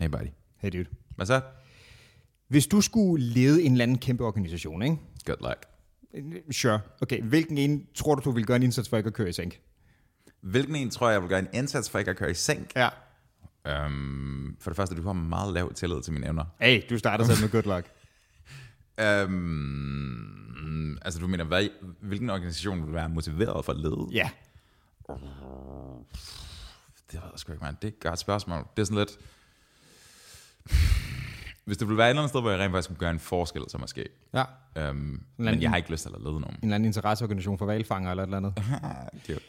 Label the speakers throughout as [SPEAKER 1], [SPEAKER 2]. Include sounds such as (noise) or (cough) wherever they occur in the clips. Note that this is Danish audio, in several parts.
[SPEAKER 1] Hey buddy.
[SPEAKER 2] Hey dude.
[SPEAKER 1] Hvad så?
[SPEAKER 2] Hvis du skulle lede en eller anden kæmpe organisation, ikke?
[SPEAKER 1] Good luck.
[SPEAKER 2] Sure. Okay, hvilken en tror du, du vil gøre en indsats for ikke at køre i sænk?
[SPEAKER 1] Hvilken en tror jeg vil gøre en indsats for ikke at køre i sænk?
[SPEAKER 2] Ja.
[SPEAKER 1] Øhm, for det første, du har meget lav tillid til mine evner.
[SPEAKER 2] Hey, du starter selv med good luck.
[SPEAKER 1] Øhm, altså du mener, hvad, hvilken organisation vil være motiveret for at lede?
[SPEAKER 2] Ja.
[SPEAKER 1] Det ved jeg sgu ikke, man. Det er et godt spørgsmål. Det er sådan lidt... Hvis det ville være et eller andet sted, hvor jeg rent faktisk kunne gøre en forskel, så måske.
[SPEAKER 2] Ja.
[SPEAKER 1] Øhm,
[SPEAKER 2] anden-
[SPEAKER 1] men jeg har ikke lyst til at lede nogen.
[SPEAKER 2] En eller anden interesseorganisation for valfanger eller et eller andet.
[SPEAKER 1] Cute.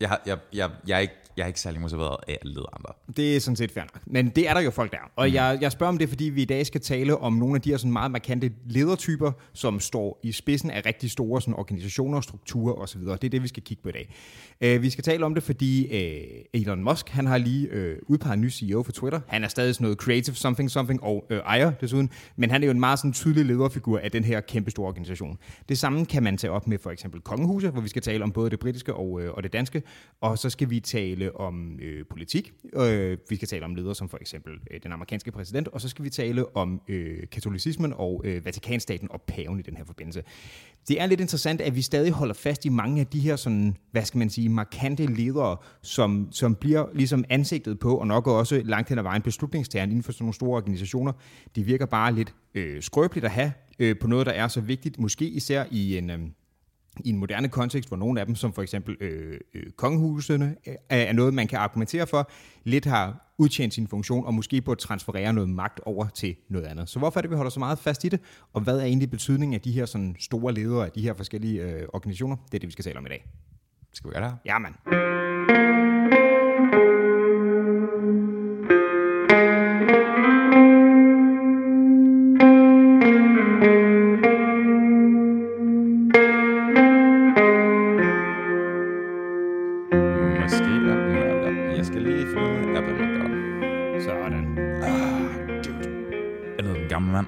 [SPEAKER 1] Jeg, har- jeg, jeg, jeg, er ikke, jeg er ikke særlig motiveret af at lede andre.
[SPEAKER 2] Det er sådan set fair nok. Men det er der jo folk, der er. Og mm. jeg, jeg spørger om det, fordi vi i dag skal tale om nogle af de her sådan meget markante ledertyper, som står i spidsen af rigtig store sådan, organisationer, strukturer osv. Det er det, vi skal kigge på i dag. Øh, vi skal tale om det, fordi øh, Elon Musk, han har lige øh, udpeget en ny CEO for Twitter. Han er stadig sådan noget creative something something og øh, ejer desuden. Men han er jo en meget sådan, tydelig lederfigur af den her kæmpe store organisation. Det samme kan man tage op med for eksempel kongehuset, hvor vi skal tale om både det britiske og, øh, og det danske. Og så skal vi tale om øh, politik. Øh, vi skal tale om ledere som for eksempel øh, den amerikanske præsident. Og så skal vi tale om øh, katolicismen og øh, Vatikanstaten og paven i den her forbindelse. Det er lidt interessant, at vi stadig holder fast i mange af de her sådan, hvad skal man sige, markante ledere, som, som bliver ligesom ansigtet på, og nok også langt hen ad vejen beslutningstageren inden for sådan nogle store organisationer. Det virker bare lidt øh, skrøbeligt at have øh, på noget, der er så vigtigt, måske især i en... Øh, i en moderne kontekst, hvor nogle af dem, som for eksempel øh, øh, kongehusene, øh, er noget, man kan argumentere for, lidt har udtjent sin funktion, og måske på at transferere noget magt over til noget andet. Så hvorfor er det, vi holder så meget fast i det, og hvad er egentlig betydningen af de her sådan, store ledere af de her forskellige øh, organisationer? Det er det, vi skal tale om i dag.
[SPEAKER 1] Skal vi gøre det her?
[SPEAKER 2] Jamen.
[SPEAKER 1] Måske er den Jeg skal lige finde ud af, Apple MacDow.
[SPEAKER 2] Sådan.
[SPEAKER 1] Er det en gammel mand?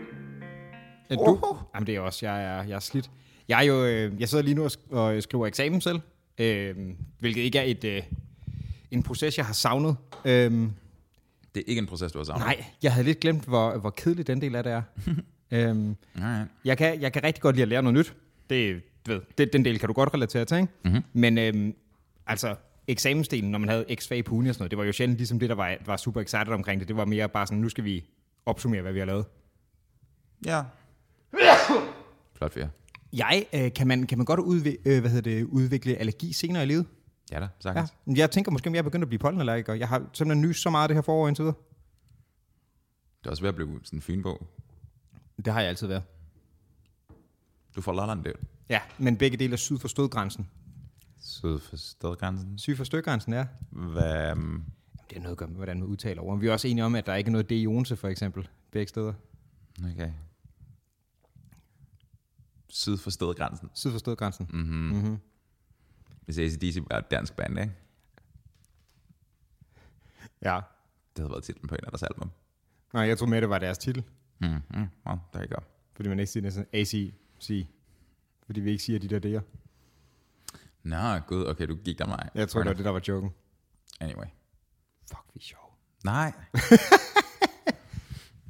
[SPEAKER 2] Er du? Jamen, det er også. Jeg er, jeg er slidt. Jeg, er jo, øh, jeg sidder lige nu og sk- og øh, skriver eksamen selv, øh, hvilket ikke er et, øh, en proces, jeg har savnet. Øh,
[SPEAKER 1] Det er ikke en proces, du har savnet.
[SPEAKER 2] Nej, jeg havde lidt glemt, hvor, hvor kedelig den del af (laughs) det er. øhm,
[SPEAKER 1] Alright.
[SPEAKER 2] jeg, kan, jeg kan rigtig godt lide at lære noget nyt. Det, du ved, det, den del kan du godt relatere til, ikke? Mm-hmm. Men øhm, altså, eksamensdelen, når man havde x-fag på uni og sådan noget, det var jo sjældent ligesom det, der var, var super excited omkring det. Det var mere bare sådan, nu skal vi opsummere, hvad vi har lavet.
[SPEAKER 1] Ja. Flot fire.
[SPEAKER 2] Jeg, øh, kan, man, kan man godt udvi- øh, hvad hedder det, udvikle allergi senere i livet?
[SPEAKER 1] Ja da,
[SPEAKER 2] Ja.
[SPEAKER 1] sagtens.
[SPEAKER 2] Men Jeg tænker måske, om jeg er begyndt at blive pollenallergiker. Jeg har simpelthen nys så meget af det her forår indtil videre.
[SPEAKER 1] Det er også ved at blive sådan en fin bog.
[SPEAKER 2] Det har jeg altid været.
[SPEAKER 1] Du får Lolland det.
[SPEAKER 2] Ja, men begge dele er syd for stødgrænsen.
[SPEAKER 1] Syd for stedgrænsen.
[SPEAKER 2] Syd for stødgrænsen er,
[SPEAKER 1] Hvad? øhm,
[SPEAKER 2] Det har noget at gøre med, hvordan man udtaler ord. Men Vi er også enige om, at der ikke er noget D i Odense, for eksempel, begge steder.
[SPEAKER 1] Okay. Syd for stedgrænsen. Mm-hmm.
[SPEAKER 2] Syd for stødgrænsen. Mm.
[SPEAKER 1] Hvis ACDC var et dansk band, ikke?
[SPEAKER 2] Ja.
[SPEAKER 1] Det havde været titlen på en af deres album.
[SPEAKER 2] Nej, jeg tror med, det var deres titel,
[SPEAKER 1] Mm, mm, wow, der er ikke op.
[SPEAKER 2] fordi man ikke siger næsten ACC. Fordi vi ikke siger de der D'er.
[SPEAKER 1] Nå, gud, okay, du gik der mig.
[SPEAKER 2] Jeg tror, det var det, der var joken.
[SPEAKER 1] Anyway.
[SPEAKER 2] Fuck, vi er sjov.
[SPEAKER 1] Nej. (laughs)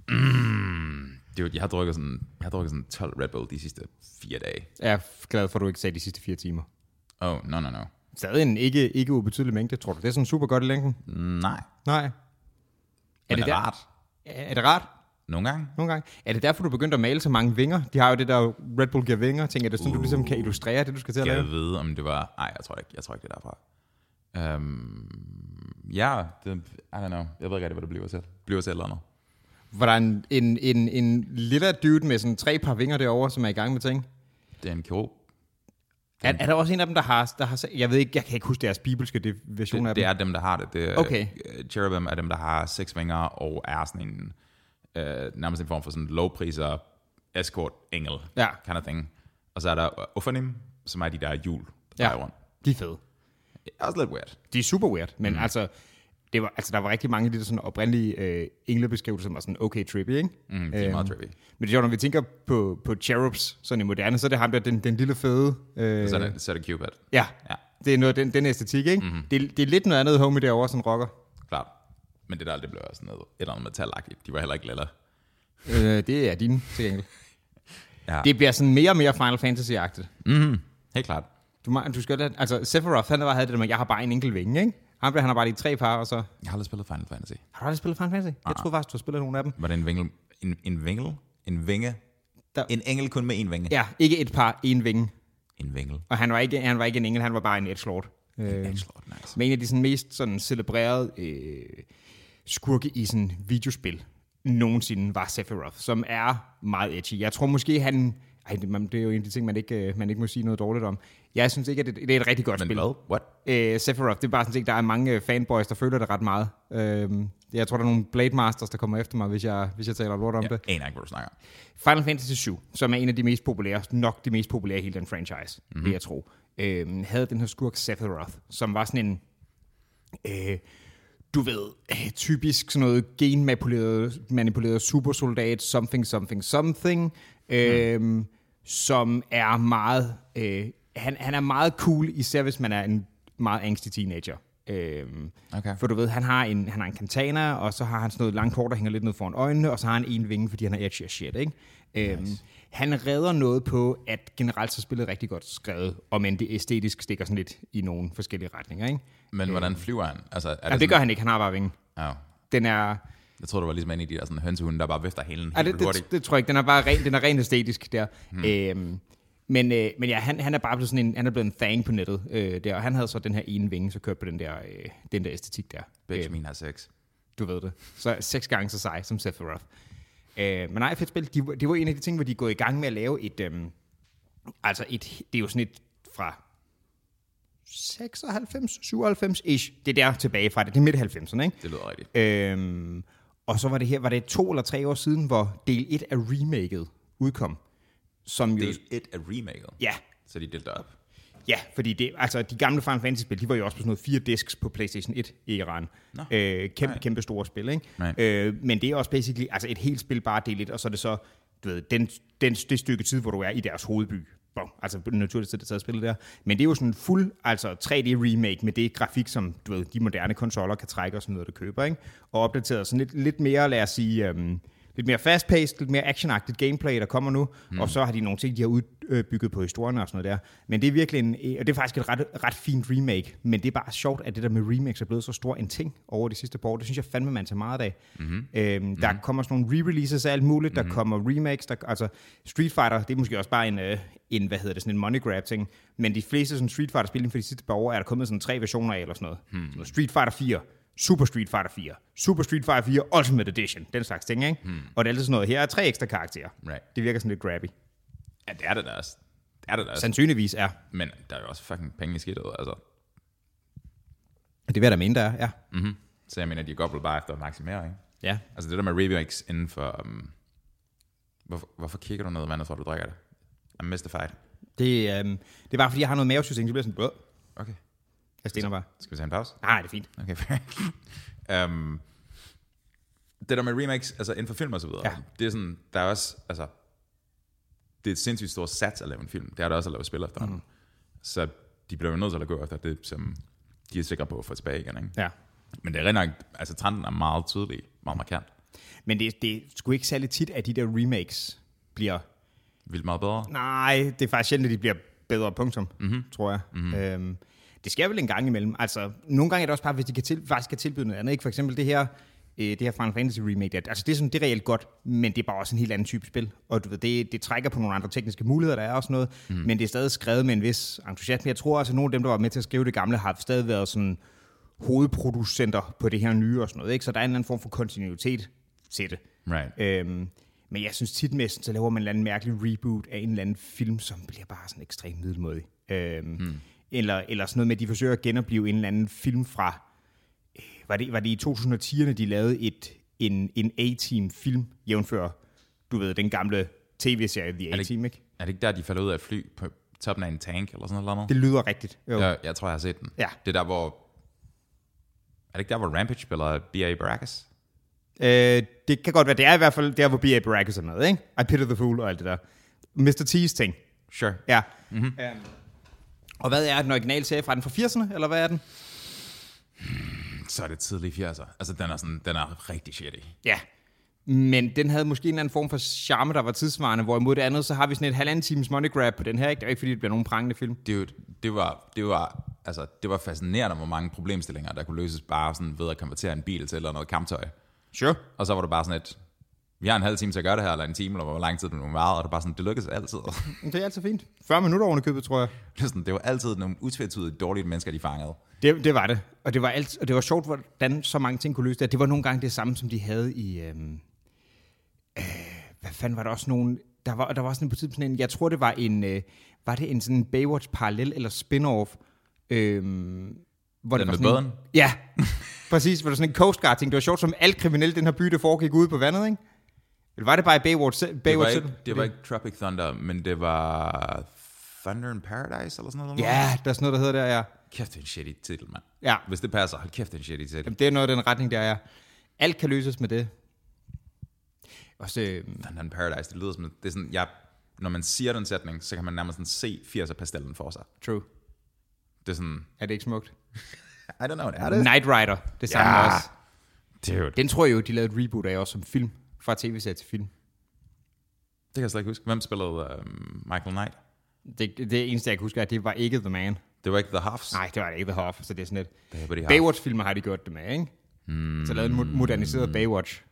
[SPEAKER 1] mm, dude, jeg har drukket sådan, jeg har drukket sådan 12 Red Bull de sidste fire dage.
[SPEAKER 2] Jeg er f- glad for, at du ikke sagde de sidste fire timer.
[SPEAKER 1] Oh, no, no, no.
[SPEAKER 2] Stadig en ikke, ikke ubetydelig mængde, tror du. Det er sådan super godt i længden.
[SPEAKER 1] Nej.
[SPEAKER 2] Nej. Er
[SPEAKER 1] Er det,
[SPEAKER 2] der-
[SPEAKER 1] rart?
[SPEAKER 2] Er er det rart?
[SPEAKER 1] Nogle gange.
[SPEAKER 2] Nogle gange. Er det derfor, du begyndte at male så mange vinger? De har jo det der Red Bull giver vinger. Tænker, er det sådan, du ligesom kan illustrere det, du skal til at
[SPEAKER 1] Skal
[SPEAKER 2] lave?
[SPEAKER 1] jeg vide, om det var... Nej, jeg tror ikke, jeg tror ikke det er derfra. Øhm, ja, det, I don't know. Jeg ved ikke rigtig, hvad det bliver til. Det bliver til et eller andet.
[SPEAKER 2] Var der en, en, en, en lille dude med sådan tre par vinger derovre, som er i gang med ting?
[SPEAKER 1] Det er en kirurg.
[SPEAKER 2] Er, er der også en af dem, der har, der har... sa- Jeg ved ikke, jeg kan ikke huske deres bibelske de- version af
[SPEAKER 1] Det,
[SPEAKER 2] dem.
[SPEAKER 1] det er dem, der har det. det er-
[SPEAKER 2] Okay.
[SPEAKER 1] øh, Cherubim er dem, der har seks vinger og er sådan en... Øh, nærmest en form for sådan lovpriser, escort, engel,
[SPEAKER 2] Ja.
[SPEAKER 1] kind of thing. Og så er der Ophanim, som er de der hjul, der
[SPEAKER 2] Ja.
[SPEAKER 1] ja. rundt.
[SPEAKER 2] De er fede.
[SPEAKER 1] Det er også lidt weird.
[SPEAKER 2] De er super weird, men mm. altså, det var, altså, der var rigtig mange af de der sådan oprindelige øh, englebeskrivelser, som var sådan okay trippy, ikke?
[SPEAKER 1] Mm,
[SPEAKER 2] Øhm,
[SPEAKER 1] det er meget trippy.
[SPEAKER 2] Men det er jo, når vi tænker på, på cherubs, sådan i moderne, så er det ham der, den, den lille fede... Øh,
[SPEAKER 1] Så er det, så er det Cupid.
[SPEAKER 2] ja,
[SPEAKER 1] Ja. Mhm.
[SPEAKER 2] det er noget, den, den æstetik, ikke? Mm. Det, er- det er lidt noget andet homie derovre, som rocker.
[SPEAKER 1] Klart. Men det der, det blev også noget, et eller andet metalagtigt. De var heller ikke laller.
[SPEAKER 2] Øh, det er din til gengæld.
[SPEAKER 1] Ja.
[SPEAKER 2] Det bliver sådan mere og mere Final Fantasy-agtigt.
[SPEAKER 1] Mm-hmm. Helt klart.
[SPEAKER 2] Du, må- du skal, lade- altså, Sephiroth, han havde det der med, jeg har bare en enkelt vinge, ikke? Han, blev- han har bare de tre par, og så...
[SPEAKER 1] Jeg har aldrig spillet Final Fantasy.
[SPEAKER 2] Har du aldrig spillet Final Fantasy? Jeg troede faktisk, du har spillet nogle af dem.
[SPEAKER 1] Var det en vingle? En, en vingle? En vinge?
[SPEAKER 2] Der-
[SPEAKER 1] Der. En engel kun med en vinge?
[SPEAKER 2] Ja, ikke et par, en vinge.
[SPEAKER 1] En vingle.
[SPEAKER 2] Og han var ikke, han var ikke en engel, han var bare en edgelord. Øh,
[SPEAKER 1] Øh. nice.
[SPEAKER 2] Men en af de sådan, mest sådan, celebrerede øh, skurke i sådan videospil nogensinde var Sephiroth, som er meget edgy. Jeg tror måske, han... Ej, det, man, det er jo en af de ting, man ikke, øh, man ikke må sige noget dårligt om. Jeg synes ikke, at det, det er et rigtig godt
[SPEAKER 1] Men
[SPEAKER 2] spil.
[SPEAKER 1] hvad? What?
[SPEAKER 2] Øh, Sephiroth, det er bare sådan set, der er mange øh, fanboys, der føler det ret meget. Øh, jeg tror, der er nogle Blade Masters, der kommer efter mig, hvis jeg, hvis jeg taler lort om ja.
[SPEAKER 1] Jeg
[SPEAKER 2] det.
[SPEAKER 1] aner ikke, hvad du snakker om.
[SPEAKER 2] Final Fantasy 7, som er en af de mest populære, nok det mest populære i hele den franchise, mm-hmm. vil jeg tro, øh, havde den her skurk Sephiroth, som var sådan en, øh, du ved, øh, typisk sådan noget genmanipuleret manipuleret supersoldat, something, something, something, øh, mm. som er meget, øh, han, han er meget cool, især hvis man er en meget angstig teenager. Øhm,
[SPEAKER 1] Okay.
[SPEAKER 2] For du ved, han har, en, han har en kantana, og så har han sådan noget langt hår, der hænger lidt ned foran øjnene, og så har han en vinge, fordi han er edgy as shit, ikke? Øhm, Han redder noget på, at generelt så spillet er rigtig godt skrevet, om end det æstetisk stikker sådan lidt i nogle forskellige retninger, ikke?
[SPEAKER 1] Men hvordan flyver han? Altså, er det,
[SPEAKER 2] Jamen, Øh. det gør han ikke, han har bare vingen.
[SPEAKER 1] Oh.
[SPEAKER 2] Den er,
[SPEAKER 1] Jeg tror, det var ligesom en af de der sådan, hønsehunde, der bare vifter helen
[SPEAKER 2] er
[SPEAKER 1] helt
[SPEAKER 2] det,
[SPEAKER 1] det, hurtigt.
[SPEAKER 2] det, det, tror jeg ikke, den er bare ren, den er ren æstetisk der. Hmm. Øhm, men, øh, men ja, han, han er bare blevet sådan en, han er blevet en thang på nettet øh, der, og han havde så den her ene vinge, så kørt på den der, øh, den der æstetik der.
[SPEAKER 1] Bitch, min har sex.
[SPEAKER 2] Du ved det. Så seks gange så sej som Sephiroth. Øh, men nej, fedt spil. De, det var en af de ting, hvor de er gået i gang med at lave et... Øhm, altså, et, det er jo sådan et fra 96, 97-ish. Det er der tilbage fra det. Det er midt 90'erne, ikke?
[SPEAKER 1] Det lyder rigtigt.
[SPEAKER 2] Øhm, og så var det her, var det to eller tre år siden, hvor del 1 af remaket udkom. Som jo,
[SPEAKER 1] Del 1 er remaket.
[SPEAKER 2] ja,
[SPEAKER 1] Så de delte op.
[SPEAKER 2] ja, fordi det, altså de gamle Final Fantasy-spil, de var jo også på sådan noget fire disks på PlayStation 1 i Iran.
[SPEAKER 1] Nå.
[SPEAKER 2] Øh, kæmpe, kæmpe store spil, ikke?
[SPEAKER 1] Nej.
[SPEAKER 2] Øh, men det er også basically altså et helt spil bare del 1, og så er det så, du ved, den, den, det stykke tid, hvor du er i deres hovedby. Bom, altså naturligt set, det taget spillet der. Men det er jo sådan en fuld altså 3D-remake med det grafik, som du ved, de moderne konsoller kan trække og sådan noget, du køber. Ikke? Og opdateret sådan lidt, lidt mere, lad os sige, øhm, lidt mere fast-paced, lidt mere actionagtigt gameplay, der kommer nu. Mm. Og så har de nogle ting, de har udbygget på historien og sådan noget der. Men det er virkelig en, øh, og det er faktisk et ret, ret fint remake. Men det er bare sjovt, at det der med remakes er blevet så stor en ting over de sidste par år. Det synes jeg fandme, man tager meget af. Mm-hmm. Øhm, der mm-hmm. kommer sådan nogle re-releases af alt muligt. Der mm-hmm. kommer remakes. Der, altså Street Fighter, det er måske også bare en, øh, en hvad hedder det, sådan en money grab ting. Men de fleste sådan Street Fighter spil inden for de sidste par år, er der kommet sådan tre versioner af eller sådan noget. Mm. Sådan noget Street Fighter 4, Super Street Fighter 4, Super Street Fighter 4 Ultimate Edition, den slags ting, ikke? Mm. Og det er altid sådan noget, her er tre ekstra karakterer.
[SPEAKER 1] Right.
[SPEAKER 2] Det virker sådan lidt grabby.
[SPEAKER 1] Ja, det er det da også. Det er det da også.
[SPEAKER 2] Sandsynligvis er.
[SPEAKER 1] Men der er jo også fucking penge i skidtet, altså.
[SPEAKER 2] Det vil jeg da mene, der er, ja.
[SPEAKER 1] Mm-hmm. Så jeg mener, de går vel bare efter maksimering.
[SPEAKER 2] Ja.
[SPEAKER 1] Altså det der med remakes inden for... Um, hvorfor, hvorfor kigger du ned i vandet, før du drikker det? I'm mystified.
[SPEAKER 2] Det, øhm, det er bare, fordi jeg har noget mavesystem, så bliver jeg sådan, Blå.
[SPEAKER 1] Okay.
[SPEAKER 2] jeg stener bare.
[SPEAKER 1] Skal vi tage en pause?
[SPEAKER 2] Nej, det er fint.
[SPEAKER 1] Okay, fair. um, det der med remakes, altså inden for film og så videre,
[SPEAKER 2] Ja.
[SPEAKER 1] ja. det er sådan, der er også, altså, det er et sindssygt stort sats at lave en film. Det er der også at lave spil efter. Mm. Så de bliver jo nødt til at gå efter det, som de er sikre på at få tilbage igen. Ikke?
[SPEAKER 2] Ja.
[SPEAKER 1] Men det er rigtig nok, altså trenden er meget tydelig, meget markant.
[SPEAKER 2] Men det, det er sgu ikke særlig tit, at de der remakes bliver...
[SPEAKER 1] Vildt meget bedre.
[SPEAKER 2] Nej, det er faktisk sjældent, at de bliver bedre, punktum, mm-hmm. tror jeg. Mm-hmm. Øhm, det sker vel en gang imellem. Altså, nogle gange er det også bare, hvis de kan til, faktisk kan tilbyde noget andet. Ikke? For eksempel det her, øh, det her Final Fantasy remake, der, altså det er, sådan, det er reelt godt, men det er bare også en helt anden type spil. Og du ved, det, det trækker på nogle andre tekniske muligheder, der er også noget, mm. men det er stadig skrevet med en vis entusiasme. Jeg tror også, at nogle af dem, der var med til at skrive det gamle, har stadig været sådan, hovedproducenter på det her nye og sådan noget. Ikke? Så der er en eller anden form for kontinuitet til det.
[SPEAKER 1] Right.
[SPEAKER 2] Øhm, men jeg synes tit med, sådan, så laver man en eller anden mærkelig reboot af en eller anden film, som bliver bare sådan ekstremt middelmådig. Øhm, hmm. eller, eller sådan noget med, at de forsøger at genopleve en eller anden film fra, øh, var det, var det i 2010'erne, de lavede et, en, en A-team film, jævnfør, du ved, den gamle tv-serie The
[SPEAKER 1] det-
[SPEAKER 2] A-team, ikke?
[SPEAKER 1] Er det ikke der, de falder ud af et fly på toppen af en tank eller sådan noget?
[SPEAKER 2] Det lyder rigtigt. Jo.
[SPEAKER 1] Jeg, jeg tror, jeg har set den.
[SPEAKER 2] Ja.
[SPEAKER 1] Det er der, hvor... Er det ikke der, hvor Rampage spiller B.A. Baracus?
[SPEAKER 2] Øh, det kan godt være, det er i hvert fald der, hvor B.A. Baracus er med, ikke? I Pity the Fool og alt det der. Mr. T's ting.
[SPEAKER 1] Sure.
[SPEAKER 2] Ja. Mm-hmm. Um, og hvad er den originale serie fra den fra 80'erne, eller hvad er den?
[SPEAKER 1] så er det tidlige 80'er. Altså, den er, sådan, den er rigtig shitty.
[SPEAKER 2] Ja. Men den havde måske en eller anden form for charme, der var tidsvarende, hvorimod det andet, så har vi sådan et halvanden times money grab på den her, ikke? Det er jo ikke, fordi det bliver nogen prangende film.
[SPEAKER 1] Det, er jo, det, var, det, var, altså, det var fascinerende, hvor mange problemstillinger, der kunne løses bare sådan ved at konvertere en bil til eller noget kamptøj.
[SPEAKER 2] Sure.
[SPEAKER 1] Og så var det bare sådan et, vi har en halv time til at gøre det her, eller en time, eller hvor lang tid det nu varede, og det var bare sådan, det lykkedes altid. (laughs)
[SPEAKER 2] Det er altid fint. 40 minutter oven i købet, tror jeg.
[SPEAKER 1] det, var sådan, det var altid nogle utvetydigt dårlige mennesker, de fangede.
[SPEAKER 2] Det, det var det. Og det var, alt, og det var sjovt, hvordan så mange ting kunne løse det. Det var nogle gange det samme, som de havde i... Øhm, øh, hvad fanden var der også nogen... Der var, der var sådan på tidspunkt sådan en... Jeg tror, det var en... Øh, var det en sådan Baywatch-parallel eller spin-off? Øhm, hvor
[SPEAKER 1] Den med
[SPEAKER 2] det var sådan en-
[SPEAKER 1] båden?
[SPEAKER 2] Ja, (laughs) præcis. Hvor der sådan en Coast Guard ting. Det var sjovt, som alt kriminelt i den her by, det foregik ude på vandet, ikke? Eller var det bare i Baywatch, selv-
[SPEAKER 1] Det var,
[SPEAKER 2] Baywatch
[SPEAKER 1] ikke,
[SPEAKER 2] selv?
[SPEAKER 1] det var ikke Tropic Thunder, men det var Thunder in Paradise, eller sådan noget.
[SPEAKER 2] Ja, der er sådan noget, der hedder der, ja.
[SPEAKER 1] Kæft, det er en shitty titel, mand.
[SPEAKER 2] Ja,
[SPEAKER 1] Hvis det passer, hold kæft, det er en shitty titel.
[SPEAKER 2] Jamen, det er noget af den retning, der er. Alt kan løses med det. Også, øh,
[SPEAKER 1] Thunder in Paradise, det lyder som, det er sådan, jeg, når man siger den sætning, så kan man nærmest sådan se 80'er pastellen for sig.
[SPEAKER 2] true.
[SPEAKER 1] Det er sådan,
[SPEAKER 2] Er det ikke smukt?
[SPEAKER 1] I don't know, er det?
[SPEAKER 2] Night Rider, det samme
[SPEAKER 1] Ja.
[SPEAKER 2] ja. også.
[SPEAKER 1] Dude. Det
[SPEAKER 2] Den tror jeg jo, de lavede et reboot af også som film. Fra tv-serie til film.
[SPEAKER 1] kan jeg slet ikke huske. Hvem spillede uh, Michael Knight?
[SPEAKER 2] Det, det, det eneste, jeg kan huske, er, at det var ikke The Man.
[SPEAKER 1] Det var ikke The Huffs.
[SPEAKER 2] Nej, det var det ikke The Hoff, så det er sådan et...
[SPEAKER 1] Det er, hvad de har.
[SPEAKER 2] Baywatch-filmer har de gjort det med, ikke?
[SPEAKER 1] Hmm.
[SPEAKER 2] Mm. Så lavede en mo- moderniseret Baywatch.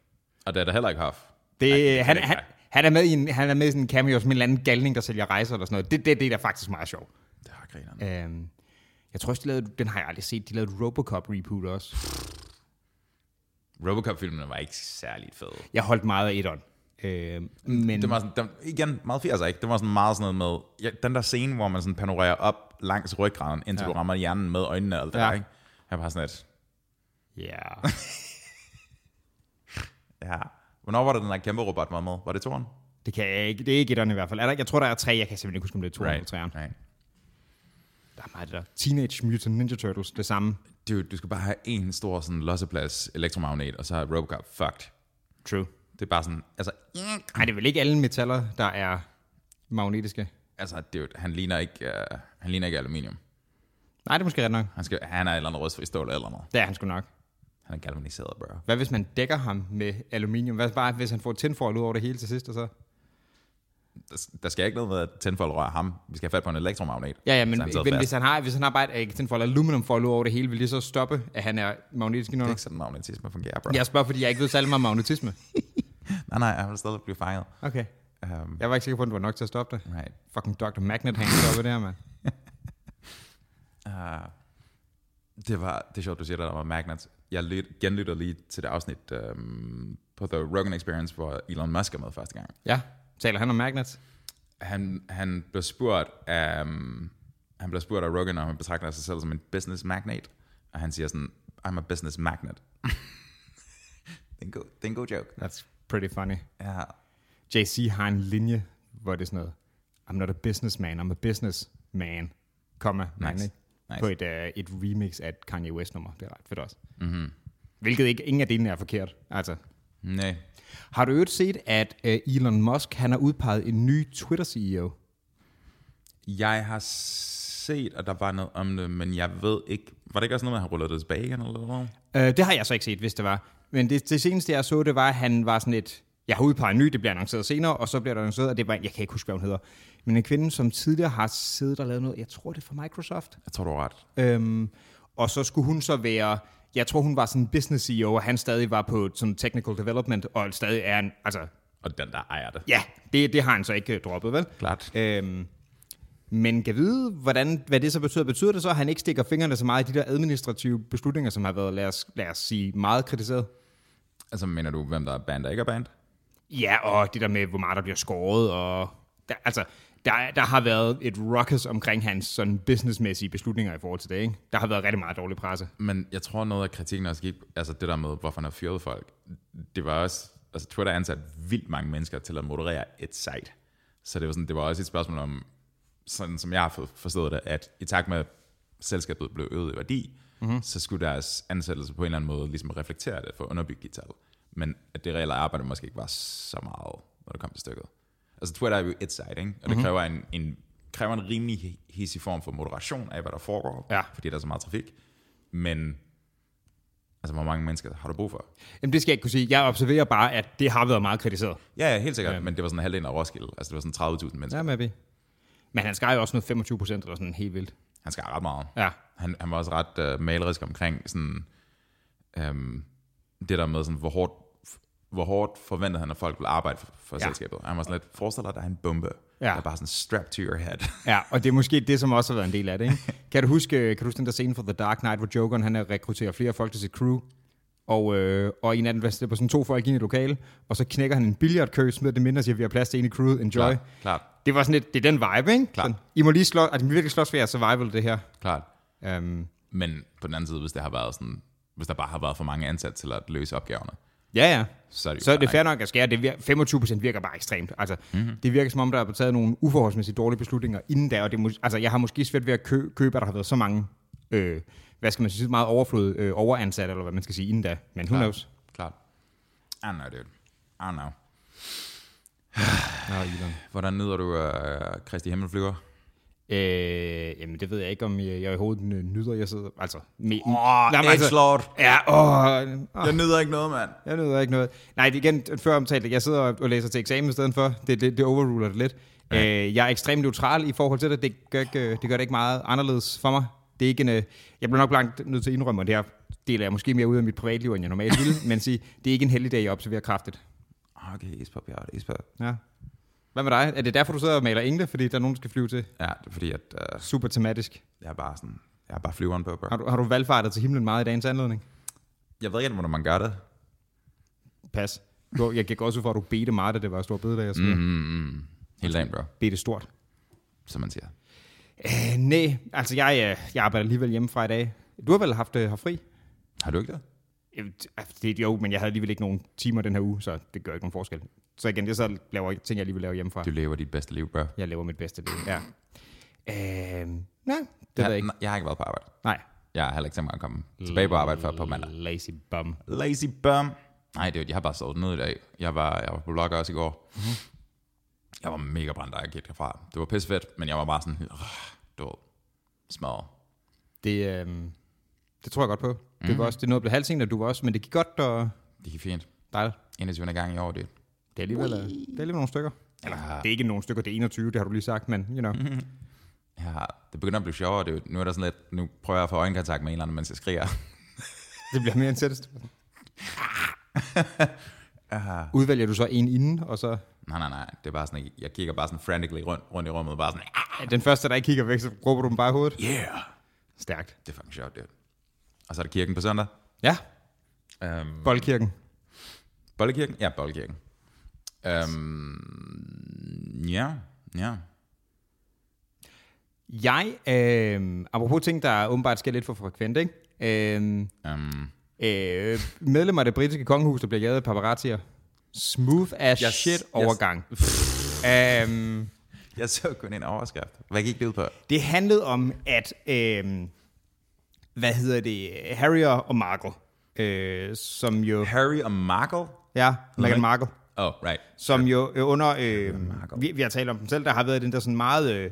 [SPEAKER 1] Og det er der heller ikke Huff.
[SPEAKER 2] Det,
[SPEAKER 1] Ej, det kan
[SPEAKER 2] han,
[SPEAKER 1] det ikke
[SPEAKER 2] han,
[SPEAKER 1] være.
[SPEAKER 2] han, er med i en, han er med i sådan en cameo som en eller anden galning, der sælger rejser eller sådan noget. Det, det, det er da faktisk meget sjovt.
[SPEAKER 1] Det har grinerne.
[SPEAKER 2] Øhm, jeg tror også, de lavede, den har jeg aldrig set, de lavede et Robocop-reboot også.
[SPEAKER 1] Robocop-filmene var ikke særligt fede.
[SPEAKER 2] Jeg holdt meget af etteren. Øhm, men
[SPEAKER 1] Det var sådan, den, igen, meget 80'er, ikke? Det var sådan meget sådan noget med, ja, den der scene, hvor man sådan panorerer op langs ryggraden, indtil ja. du rammer hjernen med øjnene og alt det
[SPEAKER 2] Ja.
[SPEAKER 1] der, ikke? Jeg var sådan et,
[SPEAKER 2] yeah.
[SPEAKER 1] ja. Hvornår var det, den der kæmpe robot var med? Var det toren?
[SPEAKER 2] det kan jeg ikke. Det er ikke etteren i hvert fald. Er der, ikke- jeg tror, der er tre. Jeg kan simpelthen ikke huske, om det er to right. eller træerne.
[SPEAKER 1] right.
[SPEAKER 2] Der er meget af det der. Teenage Mutant Ninja Turtles, det samme.
[SPEAKER 1] Dude, du skal bare have en stor sådan losseplads elektromagnet, og så er Robocop fucked.
[SPEAKER 2] True.
[SPEAKER 1] Det er bare sådan, altså,
[SPEAKER 2] Nej, det er vel ikke alle metaller, der er magnetiske.
[SPEAKER 1] altså dude, han ligner ikke, uh, han ligner ikke aluminium.
[SPEAKER 2] Nej, det er måske ret nok.
[SPEAKER 1] Han, skal, han er et eller andet rustfri stål eller noget.
[SPEAKER 2] Det er han sgu nok.
[SPEAKER 1] Han er galvaniseret, bro.
[SPEAKER 2] Hvad hvis man dækker ham med aluminium? Hvad bare, hvis han får tændfold ud over det hele til sidst? Og så?
[SPEAKER 1] Der, der skal ikke noget med, at tændfold rører ham. Vi skal have fat på en elektromagnet.
[SPEAKER 2] Ja, ja, men,
[SPEAKER 1] Så han sidder
[SPEAKER 2] men
[SPEAKER 1] fast.
[SPEAKER 2] hvis, han har, hvis han har bare et øh, tændfold af aluminumfold ud over det hele, vil det så stoppe, at han er magnetisk
[SPEAKER 1] Det er
[SPEAKER 2] indenunder?
[SPEAKER 1] ikke sådan, magnetisme fungerer, bro.
[SPEAKER 2] Jeg spørger, fordi jeg ikke ved særlig meget om magnetisme.
[SPEAKER 1] Nej, nej, han vil stadig blive fanget.
[SPEAKER 2] Okay.
[SPEAKER 1] Um,
[SPEAKER 2] Jeg var ikke sikker på, at det var nok til at stoppe det.
[SPEAKER 1] right.
[SPEAKER 2] Fucking Dr. Magnet hænger stoppe det her, mand.
[SPEAKER 1] uh, det var, det er sjovt, du siger, at der var magnets. Jeg lyt, genlytter lige til det afsnit um, på The Rogan Experience, hvor Elon Musk er med første gang.
[SPEAKER 2] Ja, taler han om magnets?
[SPEAKER 1] Han, han blev spurgt af, um, han blev spurgt af Rogan, om han betragter sig selv som en business magnet. Og han siger sådan, I'm a business magnet. (laughs) det, er en god, det er en god joke.
[SPEAKER 2] That's pretty funny.
[SPEAKER 1] Ja,
[SPEAKER 2] JC har en linje, hvor det er sådan noget, I'm not a businessman, I'm a businessman, komma, man,
[SPEAKER 1] Nice.
[SPEAKER 2] ikke?
[SPEAKER 1] Nice.
[SPEAKER 2] På et, uh, et remix af et Kanye West nummer. Det er ret fedt også. Mm-hmm.
[SPEAKER 1] Mhm.
[SPEAKER 2] Hvilket ikke, ingen af delene er forkert. Altså.
[SPEAKER 1] nej.
[SPEAKER 2] Har du i øvrigt set, at uh, Elon Musk han har udpeget en ny E Twitter-CEO?
[SPEAKER 1] Jeg har set, at der var noget om det, men jeg ved ikke... Var det ikke også noget, man har rullet det tilbage igen, eller noget?
[SPEAKER 2] Uh, det har jeg så ikke set, hvis det var. Men det, det seneste, jeg så, det var, at han var sådan et... Jeg har udpeget en ny, det bliver annonceret senere, og så bliver der annonceret, og det var en, jeg kan ikke huske, hvad hun hedder. Men en kvinde, som tidligere har siddet og lavet noget, jeg tror, det er fra Microsoft.
[SPEAKER 1] Jeg tror, du har ret.
[SPEAKER 2] Øhm, og så skulle hun så være, jeg tror hun var sådan en business CEO, og han stadig var på sådan technical development, og stadig er en, altså
[SPEAKER 1] Og den, der ejer det.
[SPEAKER 2] ja, det, det har han så ikke øh, droppet, vel?
[SPEAKER 1] Klart.
[SPEAKER 2] Øhm, men kan vide, hvordan, hvad det så betyder. Betyder det så, at han ikke stikker fingrene så meget i de der administrative beslutninger, som har været, lad os, lad os sige, meget kritiseret?
[SPEAKER 1] Altså, mener du, hvem der er band og ikke er band?
[SPEAKER 2] Ja, og det der med, hvor meget der bliver skåret, og der, altså, der, er- der har været et ruckus omkring hans sådan businessmæssige beslutninger i forhold til det, ikke? Der har været rigtig meget dårlig presse.
[SPEAKER 1] Men jeg tror, noget af kritikken også gik... Altså, det der med, hvorfor han har fyret folk. Det var også... Altså, Twitter ansat vildt mange mennesker til at moderere et site. Så det var, sådan, det var også et spørgsmål om, sådan som jeg har fået- forstået det, at i takt med, at selskabet blev øget i værdi, mm-hmm. så skulle deres ansættelse på en eller anden måde ligesom reflektere det for at underbygge de tal. Men at det reelle arbejde måske ikke var så meget, når det kom til stykket. Altså Twitter er jo et site, ikke? og det kræver en, en, kræver en rimelig hissig form for moderation af, hvad der foregår,
[SPEAKER 2] Ja.
[SPEAKER 1] fordi der er så meget trafik. Men Altså, hvor mange mennesker har du brug for?
[SPEAKER 2] Jamen, det skal jeg ikke kunne sige. Jeg observerer bare, at det har været meget kritiseret.
[SPEAKER 1] Ja, ja, helt sikkert, ja. men det var sådan halvdelen af Roskilde. Altså, det var sådan 30.000 mennesker. Ja.
[SPEAKER 2] Ja, maybe. Men han skar jo også noget 25 procent eller sådan helt vildt.
[SPEAKER 1] Han skar ret meget.
[SPEAKER 2] Ja.
[SPEAKER 1] Han, han var også ret øh, malerisk omkring sådan, øhm, det der med, sådan, hvor, hårdt, hvor hårdt forventede han, at folk ville arbejde for, for
[SPEAKER 2] Ja.
[SPEAKER 1] ja. selskabet. Han var sådan lidt, forestil dig, der er en bombe,
[SPEAKER 2] Ja.
[SPEAKER 1] ja. der er bare sådan strapped to your head.
[SPEAKER 2] Ja, og det er måske det, som også har været en del af det, (laughs) ikke? Kan du huske, kan du huske den der scene fra The Dark Knight, hvor Jokeren han øh, rekrutterer flere folk til sit crew, og, øh, og en af dem der slipper sådan to folk ind i et lokale, og så knækker han en billardkø, smider det mindre og siger, vi har plads til en i crewet, enjoy.
[SPEAKER 1] (laughs) klart,
[SPEAKER 2] Klar.
[SPEAKER 1] klart,
[SPEAKER 2] Det var sådan lidt, det er den vibe, ikke?
[SPEAKER 1] Klar.
[SPEAKER 2] Sådan, I må lige slå, at vi virkelig slås for jeres survival, det her.
[SPEAKER 1] klart.
[SPEAKER 2] Um,
[SPEAKER 1] Men på den anden side, hvis det har været sådan, hvis der bare har været for mange ansat til at løse opgaverne,
[SPEAKER 2] ja, ja.
[SPEAKER 1] så er det jo
[SPEAKER 2] Så er det
[SPEAKER 1] fair
[SPEAKER 2] fair nok at skære, det vir- 25% virker bare ekstremt. Altså,
[SPEAKER 1] Mhm.
[SPEAKER 2] mm-hmm. Det virker som om, der er taget nogle uforholdsmæssigt dårlige beslutninger inden da, og det er mås- altså, jeg har måske svært ved at kø- købe, at der har været så mange, øh, hvad skal man sige, så meget overflod, øh, overansat, eller hvad man skal sige, inden da. Men who
[SPEAKER 1] Klart.
[SPEAKER 2] knows?
[SPEAKER 1] Klart. I don't know, dude. I don't know.
[SPEAKER 2] Nå, Elon.
[SPEAKER 1] Hvordan nyder du øh, Kristi Himmelflyver?
[SPEAKER 2] Øh, jamen, det ved jeg ikke, om jeg, jeg i hovedet øh, nyder, jeg sidder, altså... Me- altså-
[SPEAKER 1] Åh, Edgelord.
[SPEAKER 2] Ja, åh, åh,
[SPEAKER 1] Jeg nyder ikke noget, mand.
[SPEAKER 2] jeg nyder ikke noget. Nej, det er igen, før omtalt, at jeg sidder og og læser til eksamen i stedet for. Det, det, det overruler det lidt. Ja. Øh, jeg er ekstremt neutral i forhold til det. Det gør, ikke, øh, det gør det ikke meget anderledes for mig. Det er ikke en, øh, jeg bliver nok langt nødt til at indrømme, og det her deler jeg måske mere ud af mit privatliv, end jeg normalt ville, (laughs) men sige, det er ikke en heldig dag, jeg observerer kraftigt.
[SPEAKER 1] Okay, ispop, ja, ispop.
[SPEAKER 2] Ja. Hvad med dig? Er det derfor, du sidder og maler engle, fordi der er nogen, der skal flyve til?
[SPEAKER 1] Ja, det er fordi, at øh,
[SPEAKER 2] Super tematisk.
[SPEAKER 1] jeg er bare sådan, jeg er bare flyveren på, bro.
[SPEAKER 2] Har du, har du valgfartet til himlen meget i dagens anledning?
[SPEAKER 1] Jeg ved ikke, hvordan man gør det.
[SPEAKER 2] Pas. Du, jeg gik også ud for, at du bedte meget, da det var stor bededag. Mm.
[SPEAKER 1] Mm-hmm. Helt dagen, bro,
[SPEAKER 2] Bedte stort.
[SPEAKER 1] som man siger.
[SPEAKER 2] Øh, nej, altså jeg, øh, jeg arbejder alligevel hjemmefra i dag. Du har vel haft øh, haft fri?
[SPEAKER 1] Har du ikke det?
[SPEAKER 2] Øh, Det er jo, men jeg havde alligevel ikke nogen timer den her uge, så det gør ikke nogen forskel. Så igen, det er så laver, ting, jeg alligevel laver hjemmefra.
[SPEAKER 1] Du lever dit bedste liv, bro. Det
[SPEAKER 2] Jeg laver mit bedste liv, ja. Øh, nej, det ved jeg ikke.
[SPEAKER 1] Jeg har ikke været på arbejde.
[SPEAKER 2] Nej.
[SPEAKER 1] Jeg har heller ikke tænkt mig at komme tilbage på arbejde før på mandag.
[SPEAKER 2] Lazy bum.
[SPEAKER 1] Lazy bum. Nej, det, jeg har bare sovet ned i dag. Jeg var, jeg var på blog også i går. Mm-hmm. Jeg var mega brændt, da jeg gik derfra. Det var pissefedt, men jeg var bare sådan, øh, du ved, smadret.
[SPEAKER 2] Det, øh, det tror jeg godt på. Mm. Det var også, det nåede at blive halvting, og du var også, men det gik godt, og
[SPEAKER 1] Det gik fint.
[SPEAKER 2] dejligt.
[SPEAKER 1] 21. gang i år, det.
[SPEAKER 2] Det er alligevel, øh, det er alligevel nogle stykker. Eller,
[SPEAKER 1] Ja.
[SPEAKER 2] det er ikke nogle stykker, det er 21, det har du lige sagt, men you know. Mm-hmm.
[SPEAKER 1] Ja, det begynder at blive sjovere. Det, er jo- nu er der sådan lidt, nu prøver jeg at få øjenkontakt med en eller anden, mens jeg skriger. (laughs)
[SPEAKER 2] Det bliver mere end sættest. Udvælger du så en inden, og så...
[SPEAKER 1] nej, nej, nej. Det er bare sådan, jeg kigger bare sådan frantically rundt, rundt i rummet, bare sådan, "Ah,
[SPEAKER 2] Den første, der ikke kigger væk, så råber du dem bare i hovedet.
[SPEAKER 1] yeah.
[SPEAKER 2] Stærkt.
[SPEAKER 1] Det er fucking sjovt, det. Og så er der kirken på søndag.
[SPEAKER 2] Ja,
[SPEAKER 1] Um,
[SPEAKER 2] boldkirken.
[SPEAKER 1] Boldekirken? Ja, Boldekirken. Øhm, ja, ja.
[SPEAKER 2] Jeg, øh, apropos ting, der åbenbart skal lidt for frekvent, ikke? Øh,
[SPEAKER 1] Øhm,
[SPEAKER 2] øh, medlemmer af det britiske kongehus, der bliver jaget af paparazzier. Smooth as
[SPEAKER 1] Yes,
[SPEAKER 2] shit
[SPEAKER 1] yes.
[SPEAKER 2] overgang. Øhm,
[SPEAKER 1] jeg så kun en overskrift. Hvad gik det ud på?
[SPEAKER 2] det handlede om, at... Øh, hvad hedder det? Harry og Markle. Øh, som jo...
[SPEAKER 1] Harry og Markle?
[SPEAKER 2] Ja, Meghan Markle.
[SPEAKER 1] Oh, right.
[SPEAKER 2] som jo øh, under, øh,
[SPEAKER 1] Markle.
[SPEAKER 2] vi, vi har talt om dem selv, der har været den der sådan meget, øh,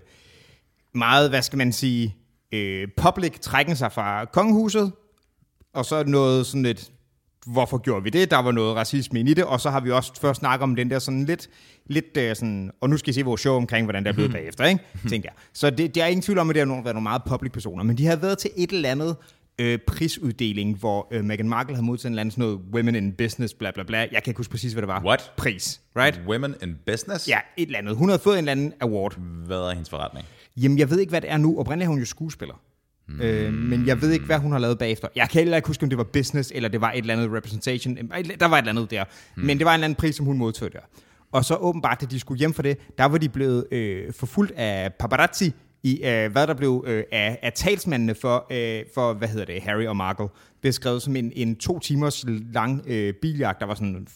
[SPEAKER 2] meget hvad skal man sige, øh, public trækken sig fra kongehuset, og så noget sådan lidt, hvorfor gjorde vi det? Der var noget racisme ind i det, og så har vi også først snakket om den der sådan lidt, lidt øh, sådan, og nu skal I se vores show omkring, hvordan der er blevet bagefter, ikke? tænker jeg. Så det, det er ingen tvivl om, at det har nogle- været nogle meget public personer, men de har været til et eller andet øh, prisuddeling, hvor øh, Meghan Markle havde modtaget en eller anden sådan noget Women in Business, bla bla bla. Jeg kan ikke huske præcis, hvad det var
[SPEAKER 1] What?
[SPEAKER 2] pris, right?
[SPEAKER 1] Women in Business?
[SPEAKER 2] Ja, et eller andet. Hun havde fået en eller anden award.
[SPEAKER 1] Hvad er hendes forretning?
[SPEAKER 2] Jamen, jeg ved ikke, hvad det er nu. Oprindeligt er hun jo skuespiller. Mm. Øh, men jeg ved ikke, hvad hun har lavet bagefter. Jeg kan heller ikke huske, om det var business, eller det var et eller andet representation. Der var et eller andet der. Mm. Men det var en eller anden pris, som hun modtog der. Og så åbenbart, da de skulle hjem for det, der var de blevet øh, forfulgt af paparazzi i, øh, hvad der blev øh, af, af talsmændene for, øh, for, hvad hedder det, Harry og Markle, beskrevet som en, en to timers lang øh, biljagt, der var sådan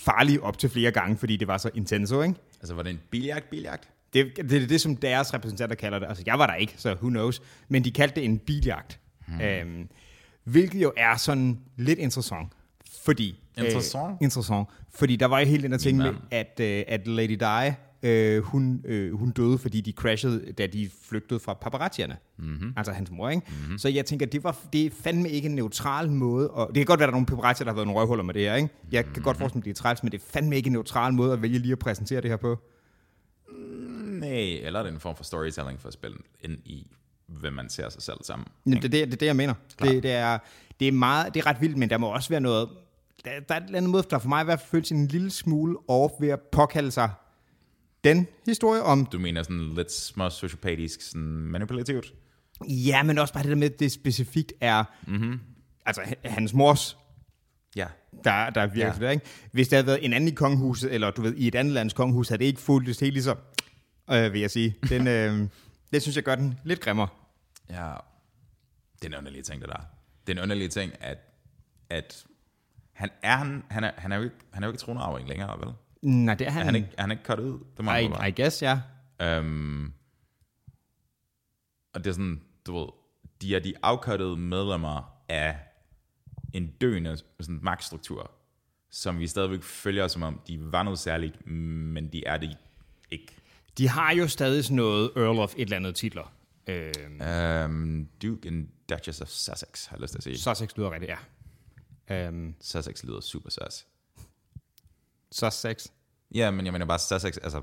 [SPEAKER 2] farlig op til flere gange, fordi det var så intenso, ikke?
[SPEAKER 1] Altså, var det en biljagt, biljagt?
[SPEAKER 2] Det, det er det, som deres repræsentanter kalder det. Altså, jeg var der ikke, så who knows. Men de kaldte det en biljagt. Hmm. Øhm, hvilket jo er sådan lidt interessant. Fordi,
[SPEAKER 1] Interessant?
[SPEAKER 2] Øh, interessant. Fordi der var jo hele den her ting med, at, øh, at Lady Di øh, hun, øh, hun døde, fordi de crashede, da de flygtede fra paparazzierne. Mm-hmm. Altså hans mor, ikke? Mm-hmm. Så jeg tænker, det, var, det er fandme ikke en neutral måde. Og det kan godt være, at der er nogle paparazzier, der har været nogle røvhuller med det her, ikke? Jeg kan godt forestille mig, det er træls, men det er fandme ikke en neutral måde at vælge lige at præsentere det her på.
[SPEAKER 1] Nej, eller er det en form for storytelling for at spille ind i, hvem man ser sig selv sammen.
[SPEAKER 2] Jamen, det, er det, det er det, jeg mener. Det, det, er, det, er meget, det er ret vildt, men der må også være noget... Der, der er et eller andet måde, der for mig i hvert fald føles en lille smule off ved at påkalde sig den historie om...
[SPEAKER 1] Du mener sådan lidt små sociopatisk, sådan manipulativt?
[SPEAKER 2] Ja, men også bare det der med, at det specifikt er... Mm-hmm. Altså, h- hans mors
[SPEAKER 1] Ja.
[SPEAKER 2] der, der virker
[SPEAKER 1] Ja.
[SPEAKER 2] ja. for det, ikke? Hvis der havde været en anden i kongehuset, eller du ved, i et andet lands kongehus, havde det ikke fulgt helt lige så, øh, vil jeg sige. Den, øh, (laughs) det synes jeg gør den lidt grimmere.
[SPEAKER 1] Ja. Det er en underlig ting, det der. Det er en underlig ting, at, at han, er, han, han, er, han, er jo ikke, han er jo ikke tronarving længere, vel?
[SPEAKER 2] Nej, det er han,
[SPEAKER 1] Er han ikke, er han ikke cut ud? Det må han
[SPEAKER 2] I, I guess, ja.
[SPEAKER 1] være. Øhm, og det er sådan, du ved, de er de afkottede medlemmer af en døende sådan, magtstruktur, som vi stadigvæk følger, som om de var noget særligt, men de er det ikke.
[SPEAKER 2] De har jo stadig sådan noget Earl of et eller andet titler. Øh,
[SPEAKER 1] Øhm, Duke and Duchess of Sussex, har jeg lyst til at sige.
[SPEAKER 2] Sussex lyder rigtigt, ja. Øhm,
[SPEAKER 1] Sussex lyder super sus.
[SPEAKER 2] Sussex,
[SPEAKER 1] Ja, men jeg mener bare Sussex, altså,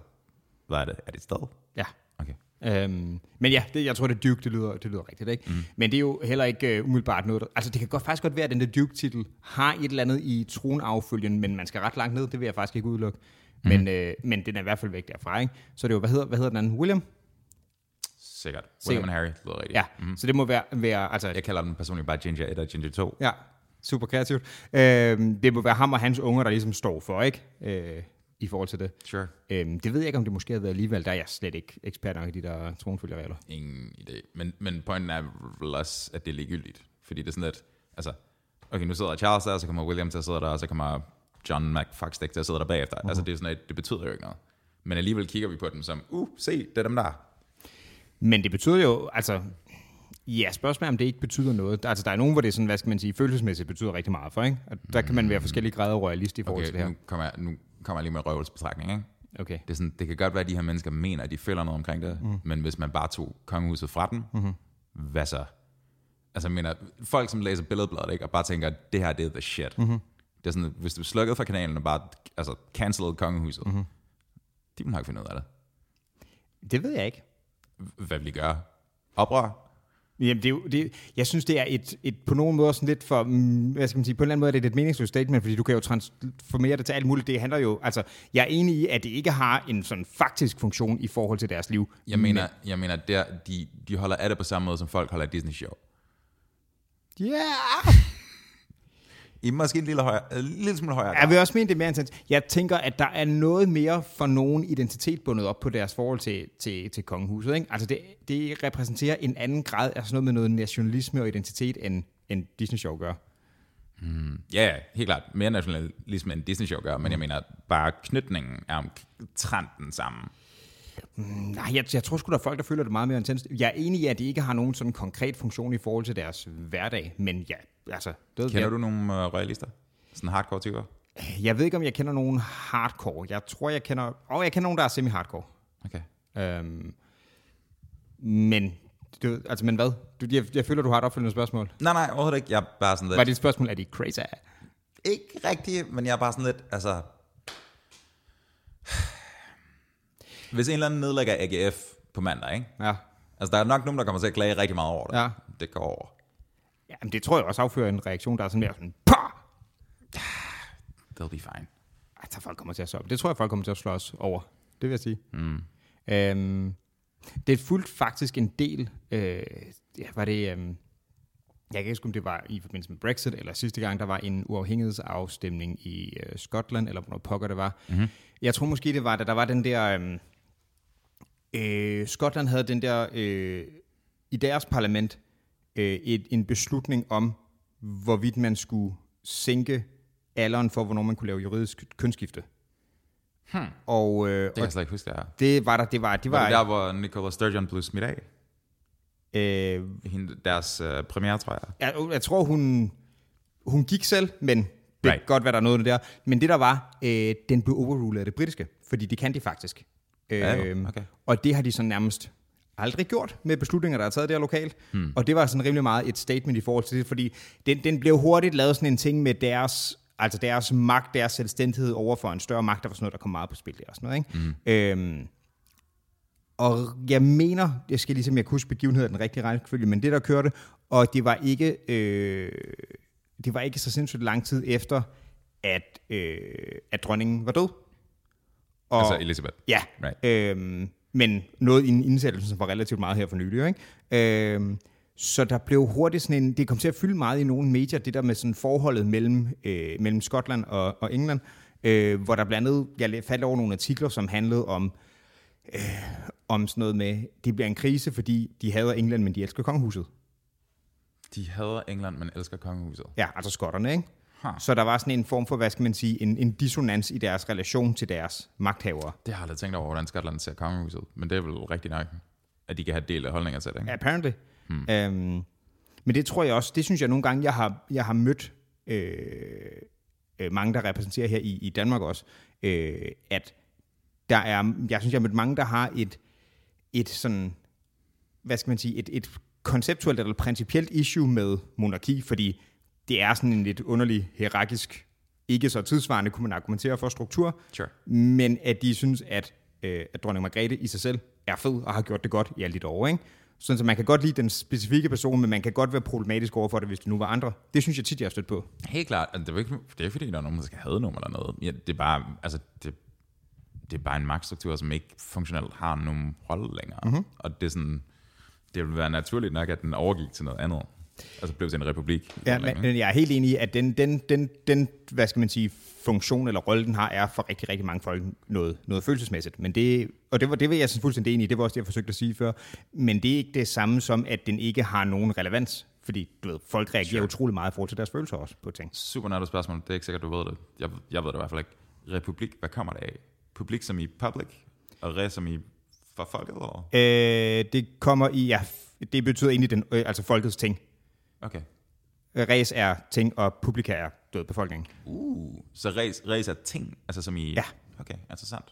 [SPEAKER 1] hvad er det? Er det et sted?
[SPEAKER 2] ja.
[SPEAKER 1] Okay.
[SPEAKER 2] Øhm, men ja, det, jeg tror, det er Duke, det lyder, det lyder rigtigt, ikke? Mm. Men det er jo heller ikke uh, umiddelbart noget, der, Altså, det kan godt, faktisk godt være, at den der Duke-titel har et eller andet i tronaffølgen, men man skal ret langt ned, det vil jeg faktisk ikke udelukke. Mm. Men, øh, men den er i hvert fald væk derfra, ikke? Så det er jo, hvad hedder, hvad hedder den anden? William?
[SPEAKER 1] Sikkert. William and Harry, det lyder rigtigt.
[SPEAKER 2] Ja, mm. så det må være, være altså,
[SPEAKER 1] Jeg kalder dem personligt bare Ginger 1 og Ginger 2.
[SPEAKER 2] Ja, super kreativt. Øhm, det må være ham og hans unger, der ligesom står for, ikke? Øh, I forhold til det.
[SPEAKER 1] Sure.
[SPEAKER 2] Øhm, det ved jeg ikke, om det måske har været alligevel. Der er jeg slet ikke ekspert nok i de der tronfølgerregler.
[SPEAKER 1] Ingen idé. Men, men pointen er vel også, at det er ligegyldigt. Fordi det er sådan lidt, altså, okay, nu sidder Charles der, og så kommer William til at sidde der, og så kommer John McFoxdick til at sidde der bagefter. Uh-huh. Altså,
[SPEAKER 2] Mhm.
[SPEAKER 1] det er sådan lidt, det betyder jo ikke noget. Men alligevel kigger vi på dem som, uh, se, det er dem der.
[SPEAKER 2] Men det betyder jo, altså... Ja, spørgsmålet er, om det ikke betyder noget. Altså, der er nogen, hvor det sådan, hvad skal man sige, følelsesmæssigt betyder rigtig meget for, ikke? Og der kan man være forskellige grader royalist i forhold okay, til det
[SPEAKER 1] Okay,
[SPEAKER 2] her.
[SPEAKER 1] nu kommer jeg, nu kommer jeg lige med en røvelsbetragtning, ikke?
[SPEAKER 2] Okay.
[SPEAKER 1] Det, er sådan, det kan godt være, at de her mennesker mener, at de føler noget omkring det, mm. men hvis man bare tog kongehuset fra dem, mm-hmm. hvad så? Altså jeg mener, folk som læser billedbladet, ikke, og bare tænker, at det her, det er the shit. Mm-hmm. Det er sådan, hvis du slukkede for kanalen og bare altså, cancelede kongehuset, mm-hmm. de vil nok finde ud af det.
[SPEAKER 2] Det ved jeg ikke.
[SPEAKER 1] Hvad vil de gøre? Oprør?
[SPEAKER 2] Jamen, det er jo, det, jeg synes, det er et, et på nogen måde sådan lidt for, mm, hvad skal man sige, på en eller anden måde er det et lidt meningsløst statement, fordi du kan jo transformere det til alt muligt. Det handler jo, altså, jeg er enig i, at det ikke har en sådan faktisk funktion i forhold til deres liv.
[SPEAKER 1] Jeg mener, jeg mener der, de, de holder af det på samme måde, som folk holder af Disney-show.
[SPEAKER 2] Ja! Yeah!
[SPEAKER 1] I er måske en lille, højere, en lille smule højere.
[SPEAKER 2] Jeg vil også mene, det er mere intens. Jeg tænker, at der er noget mere for nogen identitet bundet op på deres forhold til, til, til kongehuset. Ikke? Altså det, det repræsenterer en anden grad af sådan noget med noget nationalisme og identitet, end, end Disney Show gør.
[SPEAKER 1] Ja, ja, helt klart. Mere nationalisme end Disney-show gør, men jeg mener, bare knytningen er omtrent den samme.
[SPEAKER 2] Nej, jeg, jeg tror sgu, der er folk, der føler det meget mere intenst. Jeg er enig i, at det ikke har nogen sådan konkret funktion i forhold til deres hverdag, men ja, altså... Det,
[SPEAKER 1] Kender
[SPEAKER 2] jeg,
[SPEAKER 1] du nogle øh, royalister? Sådan hardcore typer?
[SPEAKER 2] jeg ved ikke, om jeg kender nogen hardcore. Jeg tror, jeg kender... Og jeg kender nogen, der er semi-hardcore.
[SPEAKER 1] Okay.
[SPEAKER 2] Øhm, men, du, ved, altså, men hvad? Du, jeg, jeg føler, du har et opfølgende spørgsmål.
[SPEAKER 1] Nej, nej, overhovedet ikke. Jeg er bare sådan lidt...
[SPEAKER 2] Var det et spørgsmål, er det crazy?
[SPEAKER 1] Ikke rigtigt, men jeg er bare sådan lidt, altså... Hvis en eller anden nedlægger AGF på mandag, ikke?
[SPEAKER 2] Ja.
[SPEAKER 1] Altså, der er nok nogen, der kommer til at klage rigtig meget over det.
[SPEAKER 2] Ja.
[SPEAKER 1] Det går over.
[SPEAKER 2] Jamen, det tror jeg også affører en reaktion, der er sådan mere sådan... Pah!
[SPEAKER 1] They'll be fine.
[SPEAKER 2] Altså, folk kommer til at slå op. Det tror jeg, folk kommer til at slå os over. Det vil jeg sige. Mm. Øhm, det fulgte faktisk en del... Øh, ja, var det... Øhm, jeg kan ikke huske, om det var i forbindelse med Brexit, eller sidste gang, der var en uafhængighedsafstemning i øh, Skotland, eller hvor pokker det var. Mm-hmm. Jeg tror måske, det var, da der var den der... Øhm, øh, Skotland havde den der... Øh, I deres parlament øh, et, en beslutning om, hvorvidt man skulle sænke alderen for, hvornår man kunne lave juridisk kønsskifte. Hmm. Og, øh,
[SPEAKER 1] Det kan jeg slet ikke huske, det er.
[SPEAKER 2] og det var der, det var, det
[SPEAKER 1] Var
[SPEAKER 2] var,
[SPEAKER 1] det der, hvor Nicola Sturgeon blev smidt af?
[SPEAKER 2] der? Øh,
[SPEAKER 1] Hende, deres øh, premiere, tror jeg.
[SPEAKER 2] jeg, jeg tror, hun, hun gik selv, men det
[SPEAKER 1] Right.
[SPEAKER 2] kan godt være, der er noget der. Men det der var, øh, den blev overrulet af det britiske, fordi det kan de faktisk.
[SPEAKER 1] Ja, jo,
[SPEAKER 2] Øhm,
[SPEAKER 1] okay.
[SPEAKER 2] Og det har de sådan nærmest aldrig gjort med beslutninger, der er taget der lokalt. Hmm. Og det var sådan rimelig meget et statement i forhold til det, fordi den, den blev hurtigt lavet sådan en ting med deres, altså deres magt, deres selvstændighed over for en større magt, der var sådan noget, der kom meget på spil der og sådan noget. Ikke? Hmm. Øhm, og jeg mener, jeg skal ligesom, jeg kunne huske begivenheden i den rigtige rækkefølge, men det der kørte, og det var ikke, øh, det var ikke så sindssygt lang tid efter, at, øh, at dronningen var død. Og,
[SPEAKER 1] Altså Elisabeth.
[SPEAKER 2] Ja,
[SPEAKER 1] Right.
[SPEAKER 2] øhm, men noget i en indsættelse, som var relativt meget her for nylig. Ikke? Øhm, så der blev hurtigt sådan en, det kom til at fylde meget i nogle medier, det der med sådan forholdet mellem, øh, mellem Skotland og, og England, øh, hvor der blandt andet, jeg læ- faldt over nogle artikler, som handlede om, øh, om sådan noget med, det bliver en krise, fordi de hader England, men de elsker kongehuset.
[SPEAKER 1] De hader England, men elsker kongehuset.
[SPEAKER 2] Ja, altså skotterne, ikke?
[SPEAKER 1] Huh.
[SPEAKER 2] Så der var sådan en form for, hvad skal man sige, en, en dissonans i deres relation til deres magthavere.
[SPEAKER 1] Det har jeg aldrig tænkt over, hvordan Skotland ser kongehuset. Men det er vel rigtigt nok, at de kan have del af holdninger til det. Ikke?
[SPEAKER 2] Apparently. Hmm. Øhm, men det tror jeg også, det synes jeg nogle gange, jeg har, jeg har mødt øh, øh, mange, der repræsenterer her i, i Danmark også, øh, at der er, jeg synes, jeg har mødt mange, der har et, et sådan, hvad skal man sige, et, et konceptuelt eller principielt issue med monarki, fordi det er sådan en lidt underlig, hierarkisk, ikke så tidsvarende, kunne man argumentere for struktur,
[SPEAKER 1] Sure.
[SPEAKER 2] men at de synes, at, øh, at dronning Margrethe i sig selv er fed og har gjort det godt i alle de år, ikke? Sådan, så man kan godt lide den specifikke person, men man kan godt være problematisk overfor det, hvis det nu var andre. Det synes jeg tit, jeg har stødt på.
[SPEAKER 1] Helt klart. Altså, Det er, jo ikke, det er fordi, der er nogen, der skal have nummer eller noget. Ja, det er bare, altså, det, det er bare en magtstruktur, som ikke funktionelt har nogen rolle længere.
[SPEAKER 2] Mhm.
[SPEAKER 1] Mm-hmm. Og det er sådan, det vil være naturligt nok, at den overgik til noget andet. Altså blev til en republik.
[SPEAKER 2] Ja, men, men jeg er helt enig i, at den, den, den, den, hvad skal man sige, funktion eller rolle, den har, er for rigtig, rigtig mange folk noget, noget følelsesmæssigt. Men det, og det, var, det var jeg sådan fuldstændig enig i, det var også det, jeg forsøgte at sige før. Men det er ikke det samme som, at den ikke har nogen relevans. Fordi du ved, folk reagerer sure. utrolig meget i forhold til deres følelser også på ting.
[SPEAKER 1] Super nørdet spørgsmål. Det er ikke sikkert, du ved det. Jeg, jeg ved det i hvert fald ikke. Republik, hvad kommer det af? Publik som i public, og re som i for folket, eller?
[SPEAKER 2] Øh, det kommer i, ja, f- det betyder egentlig den, øh, altså folkets ting.
[SPEAKER 1] Okay.
[SPEAKER 2] Øh, Res er ting, og publika er død befolkningen.
[SPEAKER 1] Uh, så res, res er ting, altså som i...
[SPEAKER 2] Ja.
[SPEAKER 1] Okay, interessant.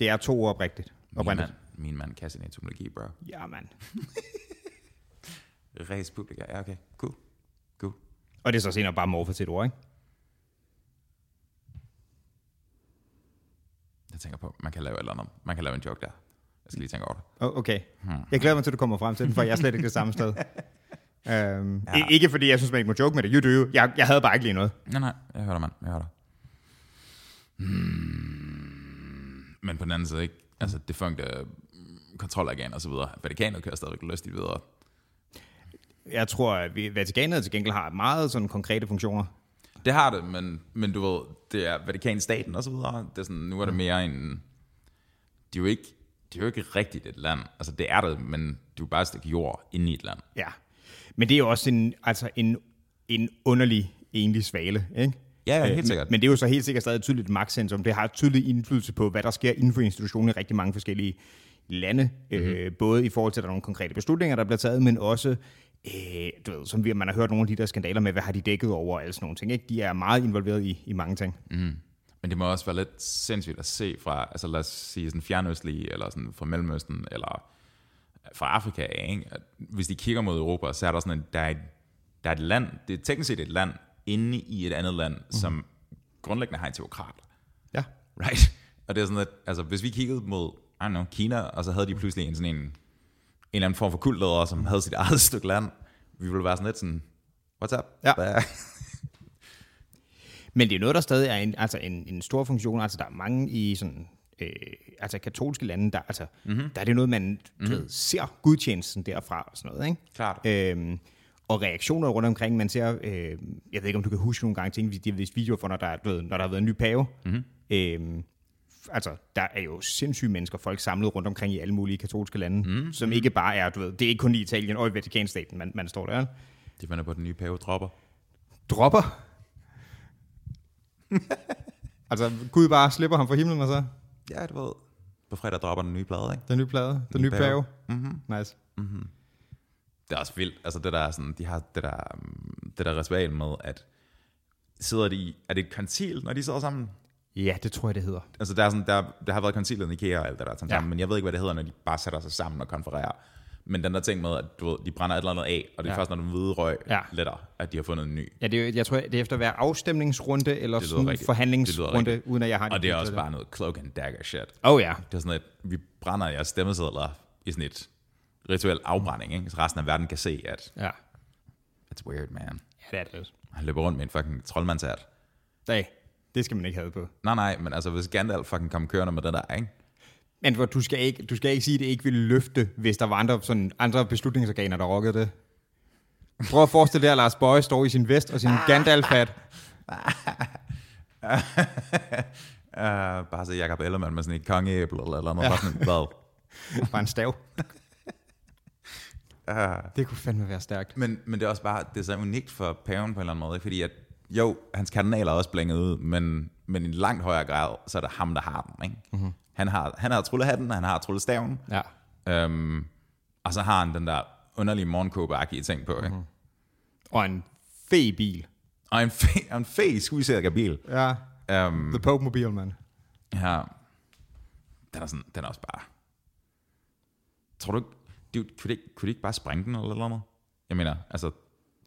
[SPEAKER 2] Det er to ord oprigtigt.
[SPEAKER 1] Min
[SPEAKER 2] oprindeligt.
[SPEAKER 1] mand, min mand kan sin etymologi, bro.
[SPEAKER 2] Ja, mand.
[SPEAKER 1] Res publica, ja okay, cool. Cool.
[SPEAKER 2] Og det er så senere bare morfet til et ord, ikke?
[SPEAKER 1] Jeg tænker på, man kan lave et eller andet. Man kan lave en joke der. Jeg skal lige tænke over det.
[SPEAKER 2] Oh, okay. Jeg glæder mig til, at du kommer frem til den, for jeg er slet ikke det samme sted. Øhm, ja. Ikke fordi jeg synes, man ikke må joke med det. You do you. Jeg, jeg havde bare ikke lige noget.
[SPEAKER 1] Nej, nej, jeg hører dig, mand. Jeg hører dig. Hmm. Men på den anden side, ikke? Altså, det funkte kontrolorgan og så videre. Vatikanet kører stadigvæk lystigt videre.
[SPEAKER 2] Jeg tror, at vi- Vatikanet til gengæld har meget sådan konkrete funktioner.
[SPEAKER 1] Det har det, men, men du ved, det er Vatikanstaten og så videre. Det er sådan, nu er det mere en... Det er jo ikke, det er jo ikke rigtigt et land. Altså, det er det, men du er bare et stykke jord inde i et land.
[SPEAKER 2] Ja. Men det er jo også en, altså en, en underlig egentlig svale, ikke?
[SPEAKER 1] Ja, ja, helt
[SPEAKER 2] Øh, men-
[SPEAKER 1] sikkert.
[SPEAKER 2] Men det er jo så helt sikkert stadig et tydeligt magtcentrum. Det har tydelig indflydelse på, hvad der sker inden for institutionen i rigtig mange forskellige lande. Mm-hmm. Øh,
[SPEAKER 1] Mhm.
[SPEAKER 2] både i forhold til, at der er nogle konkrete beslutninger, der bliver taget, men også, øh, du ved, som vi, man har hørt nogle af de der skandaler med, hvad har de dækket over og alle sådan nogle ting. Ikke? De er meget involveret i, i mange ting. Mm.
[SPEAKER 1] Men det må også være lidt sindssygt at se fra, altså lad os sige sådan fjernøstlige, eller sådan fra Mellemøsten, eller fra Afrika, af, ikke? At hvis de kigger mod Europa, så er der sådan en, der er et, der er et land, det er teknisk set et land, inde i et andet land,
[SPEAKER 2] Mhm.
[SPEAKER 1] mm. som grundlæggende har en teokrat,
[SPEAKER 2] Ja.
[SPEAKER 1] right? (laughs) Og det er sådan, at altså, hvis vi kiggede mod, I don't know, Kina, og så havde de pludselig en sådan en, en eller anden form for kultleder, som havde sit eget (laughs) stykke land, vi ville være sådan lidt sådan, what's up?
[SPEAKER 2] Ja.
[SPEAKER 1] Hvad- (laughs)
[SPEAKER 2] Men det er noget, der stadig er en, altså en, en stor funktion. Altså, der er mange i sådan, øh, altså katolske lande, der, altså,
[SPEAKER 1] Mhm.
[SPEAKER 2] mm-hmm. der er det noget, man du ved, ser gudtjenesten derfra og sådan noget. Ikke?
[SPEAKER 1] Klart.
[SPEAKER 2] Øhm, og reaktioner rundt omkring, man ser, øh, jeg ved ikke, om du kan huske nogle gange ting, de har vist videoer for, når der, er, du ved, når der har været en ny pave. Mm-hmm. Øhm, f- altså, der er jo sindssyge mennesker, folk samlet rundt omkring i alle mulige katolske lande, mm-hmm. som ikke bare er, du ved, det er ikke kun i Italien og i Vatikanstaten, man, man står der.
[SPEAKER 1] De finder på, at den nye pave dropper.
[SPEAKER 2] Dropper? altså, Gud bare slipper ham fra himlen, og så
[SPEAKER 1] Ja, du ved. På fredag dropper den nye plade, ikke?
[SPEAKER 2] den nye plade, den nye
[SPEAKER 1] Ny pave.
[SPEAKER 2] pave. Mm-hmm. Nice.
[SPEAKER 1] Det er også vildt. Altså det der er sådan, de har det der, mm, det der ritual med, at sidder de, er det et konsil, når de sidder sammen?
[SPEAKER 2] Ja, det tror jeg, det hedder.
[SPEAKER 1] Altså der, er sådan, der, der har været koncilet i IKEA og alt det der, sådan
[SPEAKER 2] Ja.
[SPEAKER 1] ja. men jeg ved ikke, hvad det hedder, når de bare sætter sig sammen og konfererer. Men den der ting med, at du ved, de brænder et eller andet af, og det er
[SPEAKER 2] Ja.
[SPEAKER 1] ja. først, når den hvide røg
[SPEAKER 2] Ja.
[SPEAKER 1] ja. letter, at de har fundet en ny.
[SPEAKER 2] Ja, det er, jo- jeg tror, det er efter hver afstemningsrunde, eller
[SPEAKER 1] lyder
[SPEAKER 2] sådan
[SPEAKER 1] rigtigt. Det lyder
[SPEAKER 2] forhandlingsrunde,
[SPEAKER 1] rigtigt.
[SPEAKER 2] uden at jeg har
[SPEAKER 1] Og det er også
[SPEAKER 2] konkrete
[SPEAKER 1] bare noget cloak and dagger shit.
[SPEAKER 2] tal. Oh ja,
[SPEAKER 1] Det er sådan, at vi brænder jeres stemmesedler i sådan et rituel afbrænding, ikke? så resten af verden kan se, at
[SPEAKER 2] ja.
[SPEAKER 1] it's weird, man.
[SPEAKER 2] ja det er det. lidt.
[SPEAKER 1] Han løber rundt med en fucking troldmandshat.
[SPEAKER 2] Nej, det skal man ikke have på.
[SPEAKER 1] Nej, nej, men altså, hvis Gandalf fucking kom kørende med den der, ikke?
[SPEAKER 2] Men hvor du skal ikke, du skal ikke sige, at det ikke ville løfte, hvis der var andre, sådan, andre beslutningsorganer, der rokkede det. Prøv at forestille dig, at Lars Bøje står i sin vest og sin
[SPEAKER 1] Ah.
[SPEAKER 2] Gandalf-hat.
[SPEAKER 1] Uh, bare se Jacob Ellemann med sådan et kongeæble eller eller noget. Ja. Sådan, hvad?
[SPEAKER 2] Bare en
[SPEAKER 1] (laughs)
[SPEAKER 2] stav.
[SPEAKER 1] Uh,
[SPEAKER 2] Det kunne fandme være stærkt.
[SPEAKER 1] Men, men det er også bare, det er så unikt for paven på en eller anden måde, ikke? fordi at, jo, hans kardinaler er også blænget ud, men, men i langt højere grad, så er det ham, der har den. Ikke? Mm-hmm. Han, har, han har trullehatten, og han har trullestaven,
[SPEAKER 2] Ja.
[SPEAKER 1] øhm, og så har han den der underlige morgenkåbeagtige ting på. Ikke? Mm-hmm.
[SPEAKER 2] Og en fe-bil.
[SPEAKER 1] Og en fe, og en fe skudsædder bil.
[SPEAKER 2] Ja.
[SPEAKER 1] Øhm,
[SPEAKER 2] Um. The Pope Mobile, mand.
[SPEAKER 1] ja, den er, sådan, den er også bare... Tror du ikke, de, kunne, de, ikke- kunne de ikke bare sprænge den eller noget? Jeg mener, altså,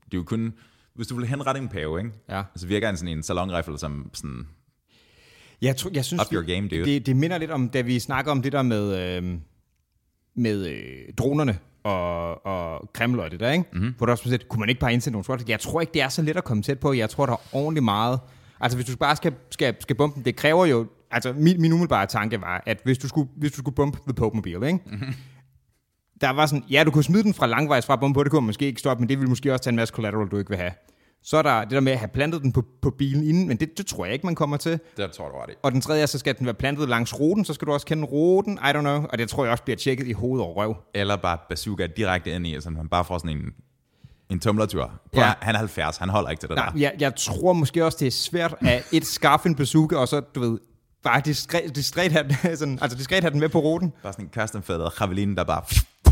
[SPEAKER 1] det er jo kun... Hvis du ville henrette en pave, ikke?
[SPEAKER 2] Ja.
[SPEAKER 1] Altså virker han sådan en salonrifle, som sådan,
[SPEAKER 2] Jeg, tror, jeg synes,
[SPEAKER 1] Up your
[SPEAKER 2] vi-
[SPEAKER 1] game, dude.
[SPEAKER 2] Det, det minder lidt om, da vi snakker om det der med, øh, med øh, dronerne og, og Kreml og det der, ikke?
[SPEAKER 1] Mhm.
[SPEAKER 2] Mm-hmm. Hvor der også sådan set, kunne man ikke bare indsende nogle squads? Jeg tror ikke, det er så let at komme tæt på. Jeg tror, der er ordentligt meget... Altså, hvis du bare skal, skal, skal bombe den, det kræver jo... Altså, min, min umiddelbare tanke var, at hvis du skulle, hvis du skulle bombe The Pope Mobile, ikke?
[SPEAKER 1] Mhm.
[SPEAKER 2] Mm-hmm. Der var sådan, ja, du kunne smide den fra langvejs fra bombe på, det kunne man måske ikke stoppe, men det ville måske også tage en masse collateral, du ikke vil have. Så er der det der med at have plantet den på, på bilen inden, men det, det tror jeg ikke, man kommer til.
[SPEAKER 1] det tror du var det.
[SPEAKER 2] Og den tredje er, så skal den være plantet langs ruten, så skal du også kende ruten, I don't know. Og det tror jeg også bliver tjekket i hoved og røv.
[SPEAKER 1] Eller bare bazooka direkte ind i, så man bare får sådan en, en tumlertur.
[SPEAKER 2] Ja.
[SPEAKER 1] Ja. Han er 70, han holder ikke til det
[SPEAKER 2] Nej,
[SPEAKER 1] der.
[SPEAKER 2] jeg, jeg tror måske også, det er svært (laughs) at et skaffe en bazooka, og så, du ved, bare diskret, diskret have den, (laughs) sådan, altså diskret have den med på ruten.
[SPEAKER 1] Bare sådan en custom-fædret javeline, der bare...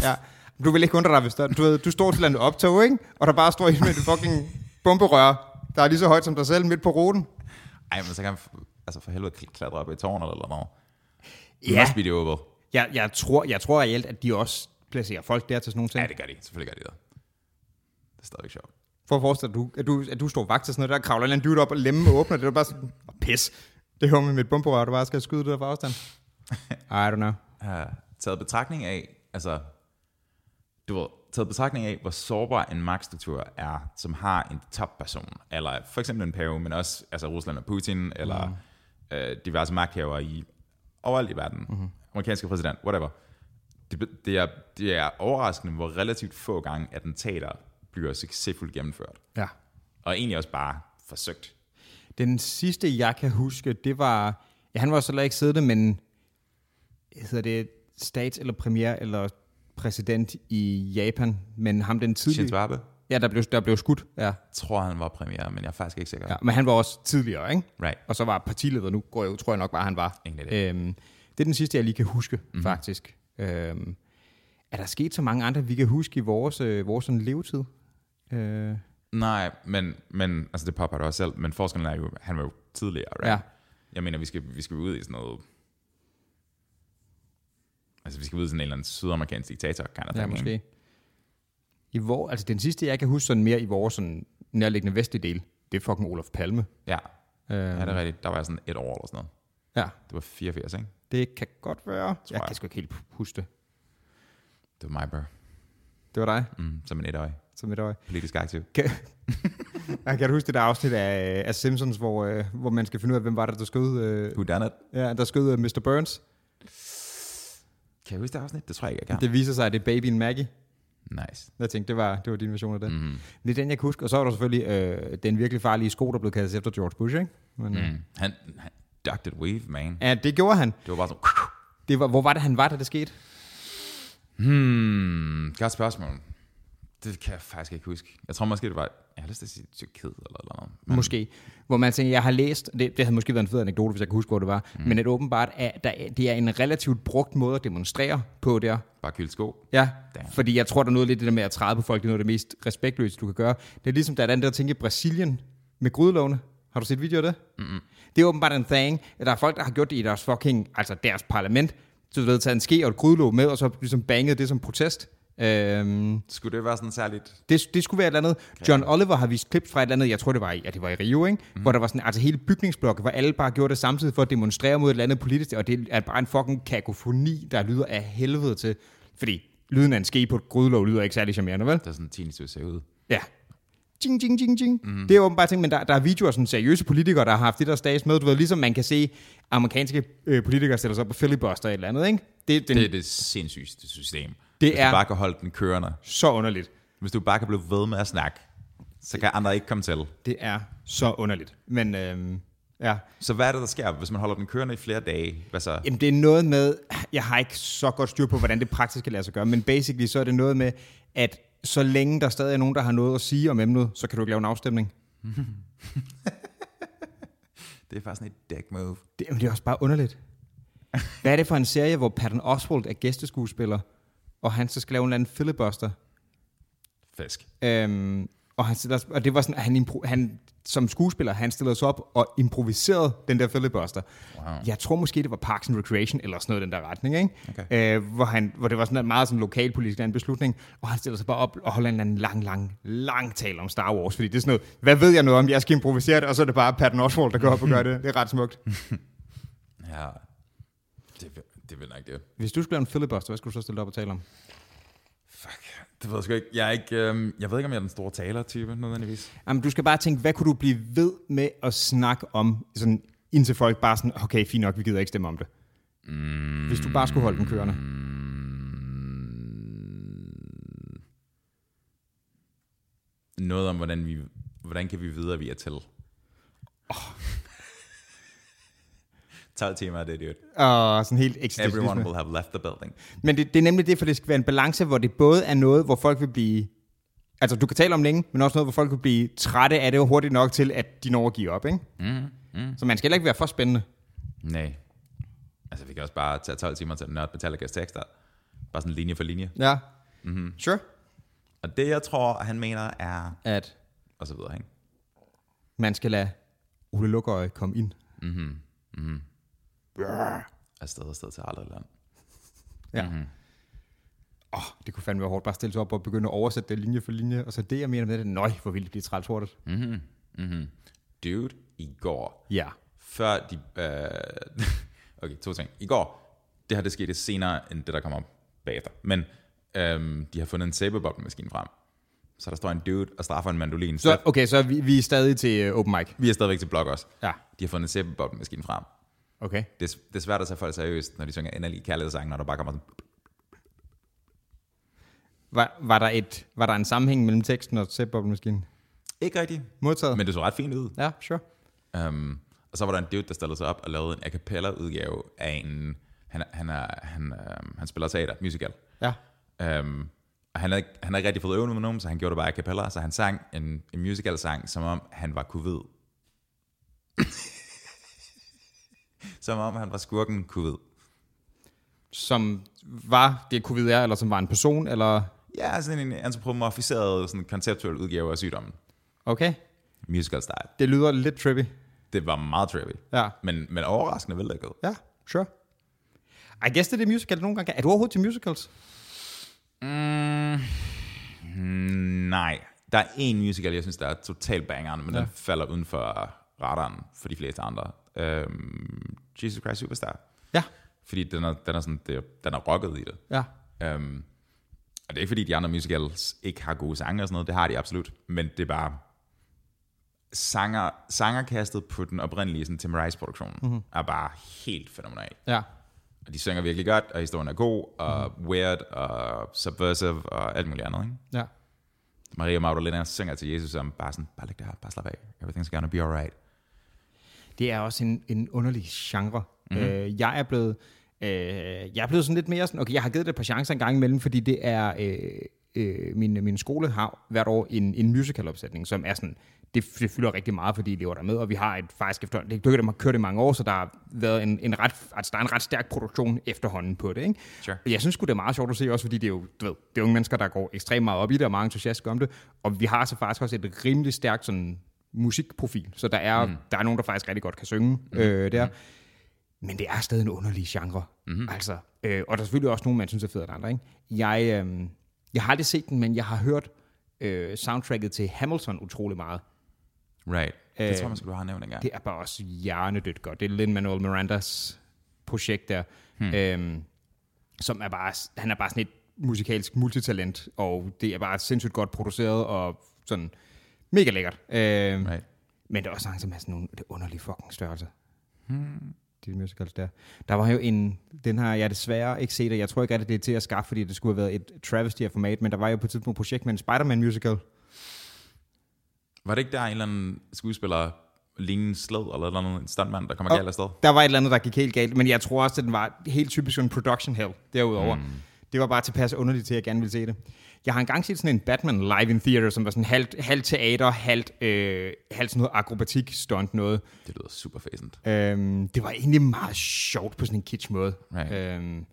[SPEAKER 2] Ja. Du vil ikke undre dig, hvis der, du, ved, du står til et optog, ikke? Og der bare står en med et fucking bomberør, der er lige så højt som dig selv midt på ruten.
[SPEAKER 1] Ej, men så kan han f- altså for helvede kl- klatre op i tårnet eller noget.
[SPEAKER 2] Ja.
[SPEAKER 1] Ja. Must be the oval.
[SPEAKER 2] Jeg, jeg tror, jeg tror reelt, at de også placerer folk der til sådan nogle ting.
[SPEAKER 1] Ja, det gør de. Selvfølgelig gør de det. Det er stadig sjovt.
[SPEAKER 2] For at forestille dig, at du, at du, at du står vagt til sådan noget, der kravler en eller anden dude op og lemme og åbner det, og bare sådan, oh, pis, det hører med mit bomberør, du bare skal skyde det der fra (laughs) afstand. I don't know.
[SPEAKER 1] Uh, taget betragtning af, altså, du ved, taget betragtning af, hvor sårbar en magtstruktur er, som har en topperson, eller for eksempel en pave, men også altså Rusland og Putin, eller mm. øh, diverse magthavere i overalt i verden, mm-hmm. amerikanske præsident, whatever. Det, be- det, er, det er overraskende, hvor relativt få gange attentater bliver succesfuldt gennemført,
[SPEAKER 2] Ja.
[SPEAKER 1] og egentlig også bare forsøgt.
[SPEAKER 2] Den sidste, jeg kan huske, det var, ja, han var så heller ikke siddende, men hedder det stats eller premier eller præsident i Japan, men ham den tidlige,
[SPEAKER 1] Shinzo Abe,
[SPEAKER 2] ja, der blev, der blev skudt, ja.
[SPEAKER 1] tror han var premiere, men jeg er faktisk ikke sikker.
[SPEAKER 2] ja. Men han var også tidligere, ikke?
[SPEAKER 1] Right.
[SPEAKER 2] Og så var partileder nu, går jeg, ud, tror jeg nok bare, han var.
[SPEAKER 1] Ingen idé.
[SPEAKER 2] Øhm, det er den sidste, jeg lige kan huske, mm. faktisk. Øhm, er der sket så mange andre, vi kan huske i vores, øh, vores sådan levetid? Øh,
[SPEAKER 1] Nej, men, men altså det popper du også selv, men forskellen er jo, han var jo tidligere, right?
[SPEAKER 2] Ja.
[SPEAKER 1] Jeg mener, vi skal, vi skal ud i sådan noget, altså vi skal ud i sådan en eller anden sydamerikansk diktator, kind of
[SPEAKER 2] ja,
[SPEAKER 1] thing, ikke?
[SPEAKER 2] måske. I vor, altså den sidste, jeg kan huske sådan mere i vores sådan nærliggende vestlige del, det er fucking Olof Palme.
[SPEAKER 1] Ja,
[SPEAKER 2] Øhm,
[SPEAKER 1] ja, det er rigtigt. Der var jeg sådan et år eller sådan noget.
[SPEAKER 2] ja,
[SPEAKER 1] Det var 84, ikke?
[SPEAKER 2] det kan godt være. Jeg kan
[SPEAKER 1] jeg.
[SPEAKER 2] sgu ikke helt huske det.
[SPEAKER 1] Det var mig, bro.
[SPEAKER 2] Det var dig,
[SPEAKER 1] Mm, som en etårig.
[SPEAKER 2] som et øje.
[SPEAKER 1] Politisk aktiv.
[SPEAKER 2] Kan, (laughs) jeg kan du huske det der afsnit af, af Simpsons, hvor, øh, hvor man skal finde ud af, hvem var det, der skød øh,
[SPEAKER 1] Who done it?
[SPEAKER 2] Ja, der skød øh, Mr. Burns.
[SPEAKER 1] Kan jeg huske det afsnit? Det tror jeg ikke, jeg
[SPEAKER 2] Ja.
[SPEAKER 1] kan.
[SPEAKER 2] Det viser sig, at det er babyen Maggie.
[SPEAKER 1] Nice.
[SPEAKER 2] Jeg tænkte, det var, det var din version af det. Mm.
[SPEAKER 1] Mm.
[SPEAKER 2] Det er den, jeg kan huske. Og så var der selvfølgelig øh, den virkelig farlige sko, der blev kastet efter George Bush, ikke? Men, mm.
[SPEAKER 1] Mm. Han, han ducked it wave, man.
[SPEAKER 2] Ja, det gjorde han.
[SPEAKER 1] Det var bare sådan,
[SPEAKER 2] Det var, hvor var det, han var, da det skete?
[SPEAKER 1] hmm, godt spørgsmål. Det kan jeg faktisk ikke huske. Jeg tror måske, det var, jeg har lyst til at sige Tyrkiet eller eller noget.
[SPEAKER 2] Mm. Måske. Hvor man tænker, jeg har læst, det, det havde måske været en fed anekdote, hvis jeg kan huske, hvor det var, mm. men at åbenbart, at der, er- det er en relativt brugt måde at demonstrere på der.
[SPEAKER 1] Bare kyld sko.
[SPEAKER 2] Ja, Damn.
[SPEAKER 1] Damn.
[SPEAKER 2] fordi jeg tror, der er noget lidt i det der med at træde på folk, det er noget af det mest respektløse, du kan gøre. Det er ligesom, der er den der ting i Brasilien med grydelovene. Har Har du set video af det? Mm-hmm. Det er åbenbart en thing, at der er folk, der har gjort det i deres fucking, altså deres parlament, så du ved, taget en ske og et grydelåg med, og så ligesom banget det som protest. Øhm,
[SPEAKER 1] Skulle det være sådan særligt...
[SPEAKER 2] det, det skulle være et eller andet. John Oliver har vist klip fra et eller andet, jeg tror det var i, ja, det var i Rio, ikke? Mm. hvor der var sådan, altså hele bygningsblokke, hvor alle bare gjorde det samtidig for at demonstrere mod et eller andet politisk, og det er bare en fucking kakofoni, der lyder af helvede til. Fordi lyden af en ske på et grydelåg lyder ikke særlig charmerende, vel?
[SPEAKER 1] Der er sådan en tinnitus, der ser ud.
[SPEAKER 2] Ja. Ding, ding, ding, ding. Mm. Det er åbenbart ting, men der, der er videoer af sådan seriøse politikere, der har haft det der stats med. Du ved, ligesom man kan se amerikanske øh, politikere sætter sig op på filibuster et eller andet, ikke? Det, er den,
[SPEAKER 1] Det
[SPEAKER 2] det.
[SPEAKER 1] er det sindssygeste system.
[SPEAKER 2] Det
[SPEAKER 1] Hvis
[SPEAKER 2] er-
[SPEAKER 1] du bare kan holde den kørende.
[SPEAKER 2] så underligt.
[SPEAKER 1] Hvis du bare kan blive ved med at snakke, så kan andre ikke komme til.
[SPEAKER 2] Det er så underligt. Men øhm, ja,
[SPEAKER 1] Så hvad er det, der sker, hvis man holder den kørende i flere dage? Hvad så?
[SPEAKER 2] Jamen det er noget med, jeg har ikke så godt styr på, hvordan det praktisk kan lade sig gøre, men basically så er det noget med, at så længe der stadig er nogen, der har noget at sige om emnet, så kan du ikke lave en afstemning.
[SPEAKER 1] Det er faktisk sådan et dick move.
[SPEAKER 2] Det, jamen, det er også bare underligt. Hvad er det for en serie, hvor Patton Oswalt er gæsteskuespiller, og han så skal lave en eller anden filibuster?
[SPEAKER 1] Fisk.
[SPEAKER 2] Øhm, og, han, stiller- og det var sådan, at han, impro, han som skuespiller, han stillede sig op og improviserede den der filibuster. Wow. Jeg tror måske, det var Parks and Recreation, eller sådan noget i den der retning, ikke? Okay. Øh, hvor, han, hvor det var sådan en meget sådan lokalpolitisk en beslutning, og han stiller sig bare op og holder en eller anden lang, lang, lang tale om Star Wars, fordi det er sådan noget, hvad ved jeg noget om, jeg skal improvisere det, og så er det bare Patton Oswalt, der går op og gør det. Det er ret (laughs) smukt.
[SPEAKER 1] Ja. Det, vil- det vil nok det.
[SPEAKER 2] Hvis du skulle lave en filibuster, hvad skulle du så stille dig op og tale om?
[SPEAKER 1] Fuck. Det ved jeg sgu ikke. Jeg, er ikke, øhm, jeg ved ikke, om jeg er den store taler-type, nødvendigvis.
[SPEAKER 2] Jamen, du skal bare tænke, hvad kunne du blive ved med at snakke om, sådan, indtil folk bare sådan, okay, fint nok, vi gider ikke stemme om det. Mm. Hvis du bare skulle holde den kørende.
[SPEAKER 1] Noget om, hvordan, vi, hvordan kan vi vide, at vi er til. Oh. (laughs) 12 timer, det er det.
[SPEAKER 2] Og sådan helt eksistentialisme.
[SPEAKER 1] Everyone will have left the building.
[SPEAKER 2] Men det, det er nemlig det, for det skal være en balance, hvor det både er noget, hvor folk vil blive... Altså, du kan tale om længe, men også noget, hvor folk vil blive trætte af det hurtigt nok til, at de når at give op, ikke? Mm. Mm. Så man skal heller ikke være for spændende.
[SPEAKER 1] Nej. Altså, vi kan også bare tage 12 timer til at nørde Metallica's tekster. Bare sådan linje for linje.
[SPEAKER 2] Ja. Mm-hmm. Sure.
[SPEAKER 1] Og det, jeg tror, han mener, er...
[SPEAKER 2] At
[SPEAKER 1] Og så videre, ikke?
[SPEAKER 2] man skal lade Ole Lukøje komme ind.
[SPEAKER 1] Afsted og sted til aldrig land.
[SPEAKER 2] Ja. Mm-hmm. Oh, det kunne fandme være hårdt bare at stille sig op og begynde at oversætte det linje for linje, og så det, jeg mener med det, nøj, hvor vildt det blive træls hurtigt. Mm.
[SPEAKER 1] Dude, i går,
[SPEAKER 2] Ja.
[SPEAKER 1] før de... Øh, (laughs) okay, to ting. I går, det her det skete senere, end det, der kommer op bagefter. Men øhm, de har fundet en sæbeboblemaskine frem. Så der står en dude og straffer en mandolin.
[SPEAKER 2] Så, okay, så er vi, vi er stadig til øh, open mic.
[SPEAKER 1] vi er stadigvæk til blog også.
[SPEAKER 2] Ja.
[SPEAKER 1] De har fundet en sæbeboblemaskine frem.
[SPEAKER 2] Okay.
[SPEAKER 1] Det, er- det er svært at tage folk seriøst, når de synger endelig kærlighedssange, når der bare kommer sådan...
[SPEAKER 2] Var, var, der et, var der en sammenhæng mellem teksten og sætbobblemaskinen?
[SPEAKER 1] Ikke rigtigt.
[SPEAKER 2] Modtaget?
[SPEAKER 1] Men det så ret fint ud.
[SPEAKER 2] Ja, sure.
[SPEAKER 1] Um, og så var der en dude, der stillede sig op og lavede en a cappella udgave af en... Han, han, er, han, um, han spiller teater, musical.
[SPEAKER 2] Ja.
[SPEAKER 1] Um, og han havde, ikke- han havde ikke rigtig fået øvet med nogen, så han gjorde det bare a cappella. Så han sang en, en musical-sang, som om han var covid. (laughs) som om han var skurken covid.
[SPEAKER 2] Som var det covid er, eller som var en person, eller...
[SPEAKER 1] Ja, sådan en antropomorfiseret, sådan konceptuel udgave af sygdommen.
[SPEAKER 2] Okay.
[SPEAKER 1] Musical style.
[SPEAKER 2] Det lyder lidt trippy.
[SPEAKER 1] Det var meget trippy.
[SPEAKER 2] Ja.
[SPEAKER 1] Men, men overraskende vellykket.
[SPEAKER 2] Ja, sure. I guess det er det musical, nogle gange kan. Er du overhovedet til musicals?
[SPEAKER 1] Mm, Nej, der er en musical, jeg synes, der er totalt bangeren, men ja. den falder uden for radaren for de fleste andre. Øhm, Jesus Christ Superstar.
[SPEAKER 2] Ja.
[SPEAKER 1] Fordi den er, den er, sådan, det, er- den er rocket i det.
[SPEAKER 2] Ja.
[SPEAKER 1] Øhm, og det er ikke fordi, de andre musicals ikke har gode sange og sådan noget, det har de absolut, men det er bare sanger, sangerkastet på den oprindelige sådan, Tim Rice-produktion
[SPEAKER 2] Mhm.
[SPEAKER 1] mm-hmm. er bare helt fænomenal.
[SPEAKER 2] Ja.
[SPEAKER 1] Og de synger virkelig godt, og historien er god, og
[SPEAKER 2] Mhm.
[SPEAKER 1] mm-hmm. weird, og subversive, og alt muligt andet. Ikke?
[SPEAKER 2] Ja.
[SPEAKER 1] Maria Magdalena synger til Jesus om bare sådan, bare læg det her, bare slap af, everything's gonna be alright.
[SPEAKER 2] Det er også en, en underlig genre. Mm-hmm. Øh, jeg er blevet... Øh, jeg er blevet sådan lidt mere sådan, okay, jeg har givet det et par chancer en gang imellem, fordi det er, øh, øh, min, min skole har hvert år en, en musicalopsætning, som er sådan, det, det fylder rigtig meget for de elever, der er med, og vi har et faktisk efterhånden, det har kørt i mange år, så der har været en, en ret, altså der er en ret stærk produktion efterhånden på det, ikke?
[SPEAKER 1] Sure.
[SPEAKER 2] Og Jeg synes sgu, det er meget sjovt at se også, fordi det er jo, du ved, det er unge mennesker, der går ekstremt meget op i det, og er meget entusiastiske om det, og vi har så faktisk også et rimelig stærkt sådan musikprofil, så der er, mm. der er nogen, der faktisk rigtig godt kan synge mm. øh, der. Mm. Men det er stadig en underlig genre. Mm. Altså, øh, og der er selvfølgelig også nogen, man synes er federe end andre. Ikke? Jeg, øh, jeg har aldrig set den, men jeg har hørt øh, soundtracket til Hamilton utrolig meget.
[SPEAKER 1] Right. Det tror
[SPEAKER 2] Øh,
[SPEAKER 1] jeg, man skulle have nævnt engang.
[SPEAKER 2] Det er bare også hjernedødt godt. Det er Lin-Manuel Mirandas projekt der, hmm. øhm, som er bare, han er bare sådan et musikalsk multitalent, og det er bare sindssygt godt produceret, og sådan mega lækkert. Øhm,
[SPEAKER 1] Right.
[SPEAKER 2] Men der er også sange, som er sådan nogle det er underlige fucking størrelser. Hmm. De musicals der. Der var jo en, den har jeg desværre ikke set, og jeg tror ikke, at det er til at skaffe, fordi det skulle have været et travesty af format, men der var jo på et tidspunkt et projekt med en Spider-Man musical.
[SPEAKER 1] Var det ikke der en eller anden skuespiller, lignende sled eller et eller andet en stuntmand, der kommer
[SPEAKER 2] Og-
[SPEAKER 1] galt afsted?
[SPEAKER 2] Der var et eller andet, der gik helt galt, men jeg tror også, at den var helt typisk en production hell derudover. Mm. Det var bare tilpas underligt til, at jeg gerne ville se det. Jeg har engang set sådan en Batman live in theater, som var sådan halvt, halvt teater, halvt, øh, halvt sådan noget akrobatik stunt noget.
[SPEAKER 1] Det lyder super fæsent.
[SPEAKER 2] Øhm, det var egentlig meget sjovt på sådan en kitsch måde.
[SPEAKER 1] Right.
[SPEAKER 2] Øhm,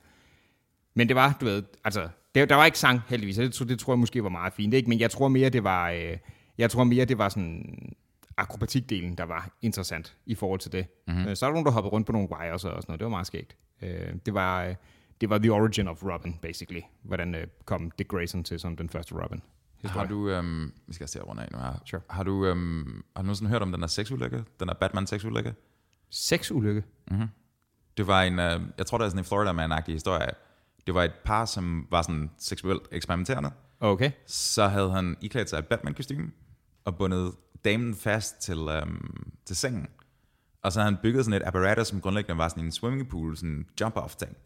[SPEAKER 2] men det var, du ved, altså, der, der var ikke sang heldigvis, og det, tro- det tror jeg måske var meget fint, ikke? men jeg tror mere, det var, øh, jeg tror mere, det var sådan akrobatikdelen, der var interessant i forhold til det. Mm-hmm. Øh, så er der nogen, der hoppede rundt på nogle wires og sådan noget, det var meget skægt. Øh, det var... Øh, det var The Origin of Robin, basically. Hvordan øh, kom Dick Grayson til som den første Robin.
[SPEAKER 1] Har du, øhm, vi skal se rundt af nu her.
[SPEAKER 2] Sure.
[SPEAKER 1] Har du, øhm, har du nogensinde hørt om den her sexulykke? Den her Batman sexulykke?
[SPEAKER 2] Seks ulykke.
[SPEAKER 1] Det var en, øh, jeg tror, det er sådan en Florida man historie. Det var et par, som var sådan seksuelt eksperimenterende.
[SPEAKER 2] Okay.
[SPEAKER 1] Så havde han iklædt sig et batman kostume og bundet damen fast til, øhm, til sengen. Og så havde han bygget sådan et apparatus, som grundlæggende var sådan en swimmingpool, sådan en jump-off-ting.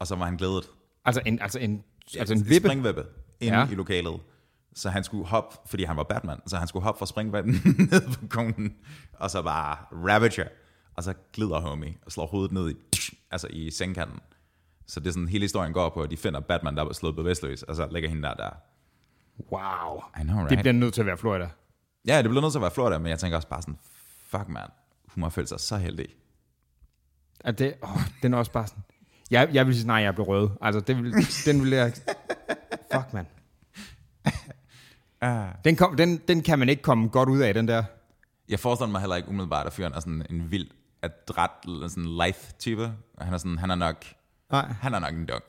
[SPEAKER 1] Og så var han glædet.
[SPEAKER 2] Altså en, altså en, altså en
[SPEAKER 1] Et
[SPEAKER 2] vippe.
[SPEAKER 1] springvippe inde
[SPEAKER 2] Ja.
[SPEAKER 1] ja. i lokalet. Så han skulle hoppe, fordi han var Batman, så han skulle hoppe fra springvippen (laughs) ned på konen, og så bare Ravager. Og så glider homie og slår hovedet ned i, altså i sengkanten. Så det er sådan, hele historien går på, at de finder Batman, der er slået bevidstløs, og så lægger hende der der.
[SPEAKER 2] Wow.
[SPEAKER 1] I know, right?
[SPEAKER 2] Det bliver nødt til at være Florida.
[SPEAKER 1] Ja, det bliver nødt til at være Florida, men jeg tænker også bare sådan, fuck man, hun har følt sig så heldig.
[SPEAKER 2] At det, åh, den er også bare sådan... Jeg, jeg vil sige, nej, jeg blev rød. Altså, det vil, den vil jeg... Fuck, mand. Den, kom, den, den kan man ikke komme godt ud af, den der.
[SPEAKER 1] Jeg forestiller mig heller ikke umiddelbart, at fyren er sådan en vild, adræt, sådan life-type. Og Han er sådan, han er nok,
[SPEAKER 2] Nej.
[SPEAKER 1] han er nok en dog.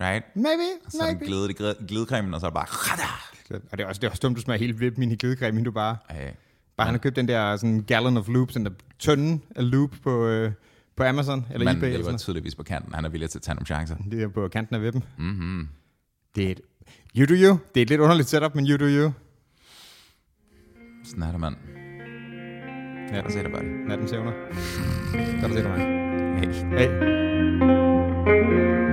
[SPEAKER 1] Right?
[SPEAKER 2] Maybe,
[SPEAKER 1] Så er den glæde, glæde, glædecremen, og så er det bare... Rada!
[SPEAKER 2] Og det er også, det er også dumt, du smager helt vippen i glidecreme, inden du bare...
[SPEAKER 1] Ej,
[SPEAKER 2] Bare han har købt den der sådan gallon of loops, den der tønde af loop på, øh, på Amazon eller
[SPEAKER 1] manden
[SPEAKER 2] eBay. Eller
[SPEAKER 1] hjælper
[SPEAKER 2] sådan noget.
[SPEAKER 1] tydeligvis på kanten. Han er villig til at tage nogle chancer.
[SPEAKER 2] Det er på kanten af vippen. Mm-hmm. Det er et... You do you. Det er et lidt underligt setup, men you do you.
[SPEAKER 1] Sådan er det, mand. Ja, der ser det bare det.
[SPEAKER 2] Natten søvner. Godt at se dig, mand.
[SPEAKER 1] Hey.
[SPEAKER 2] Hey.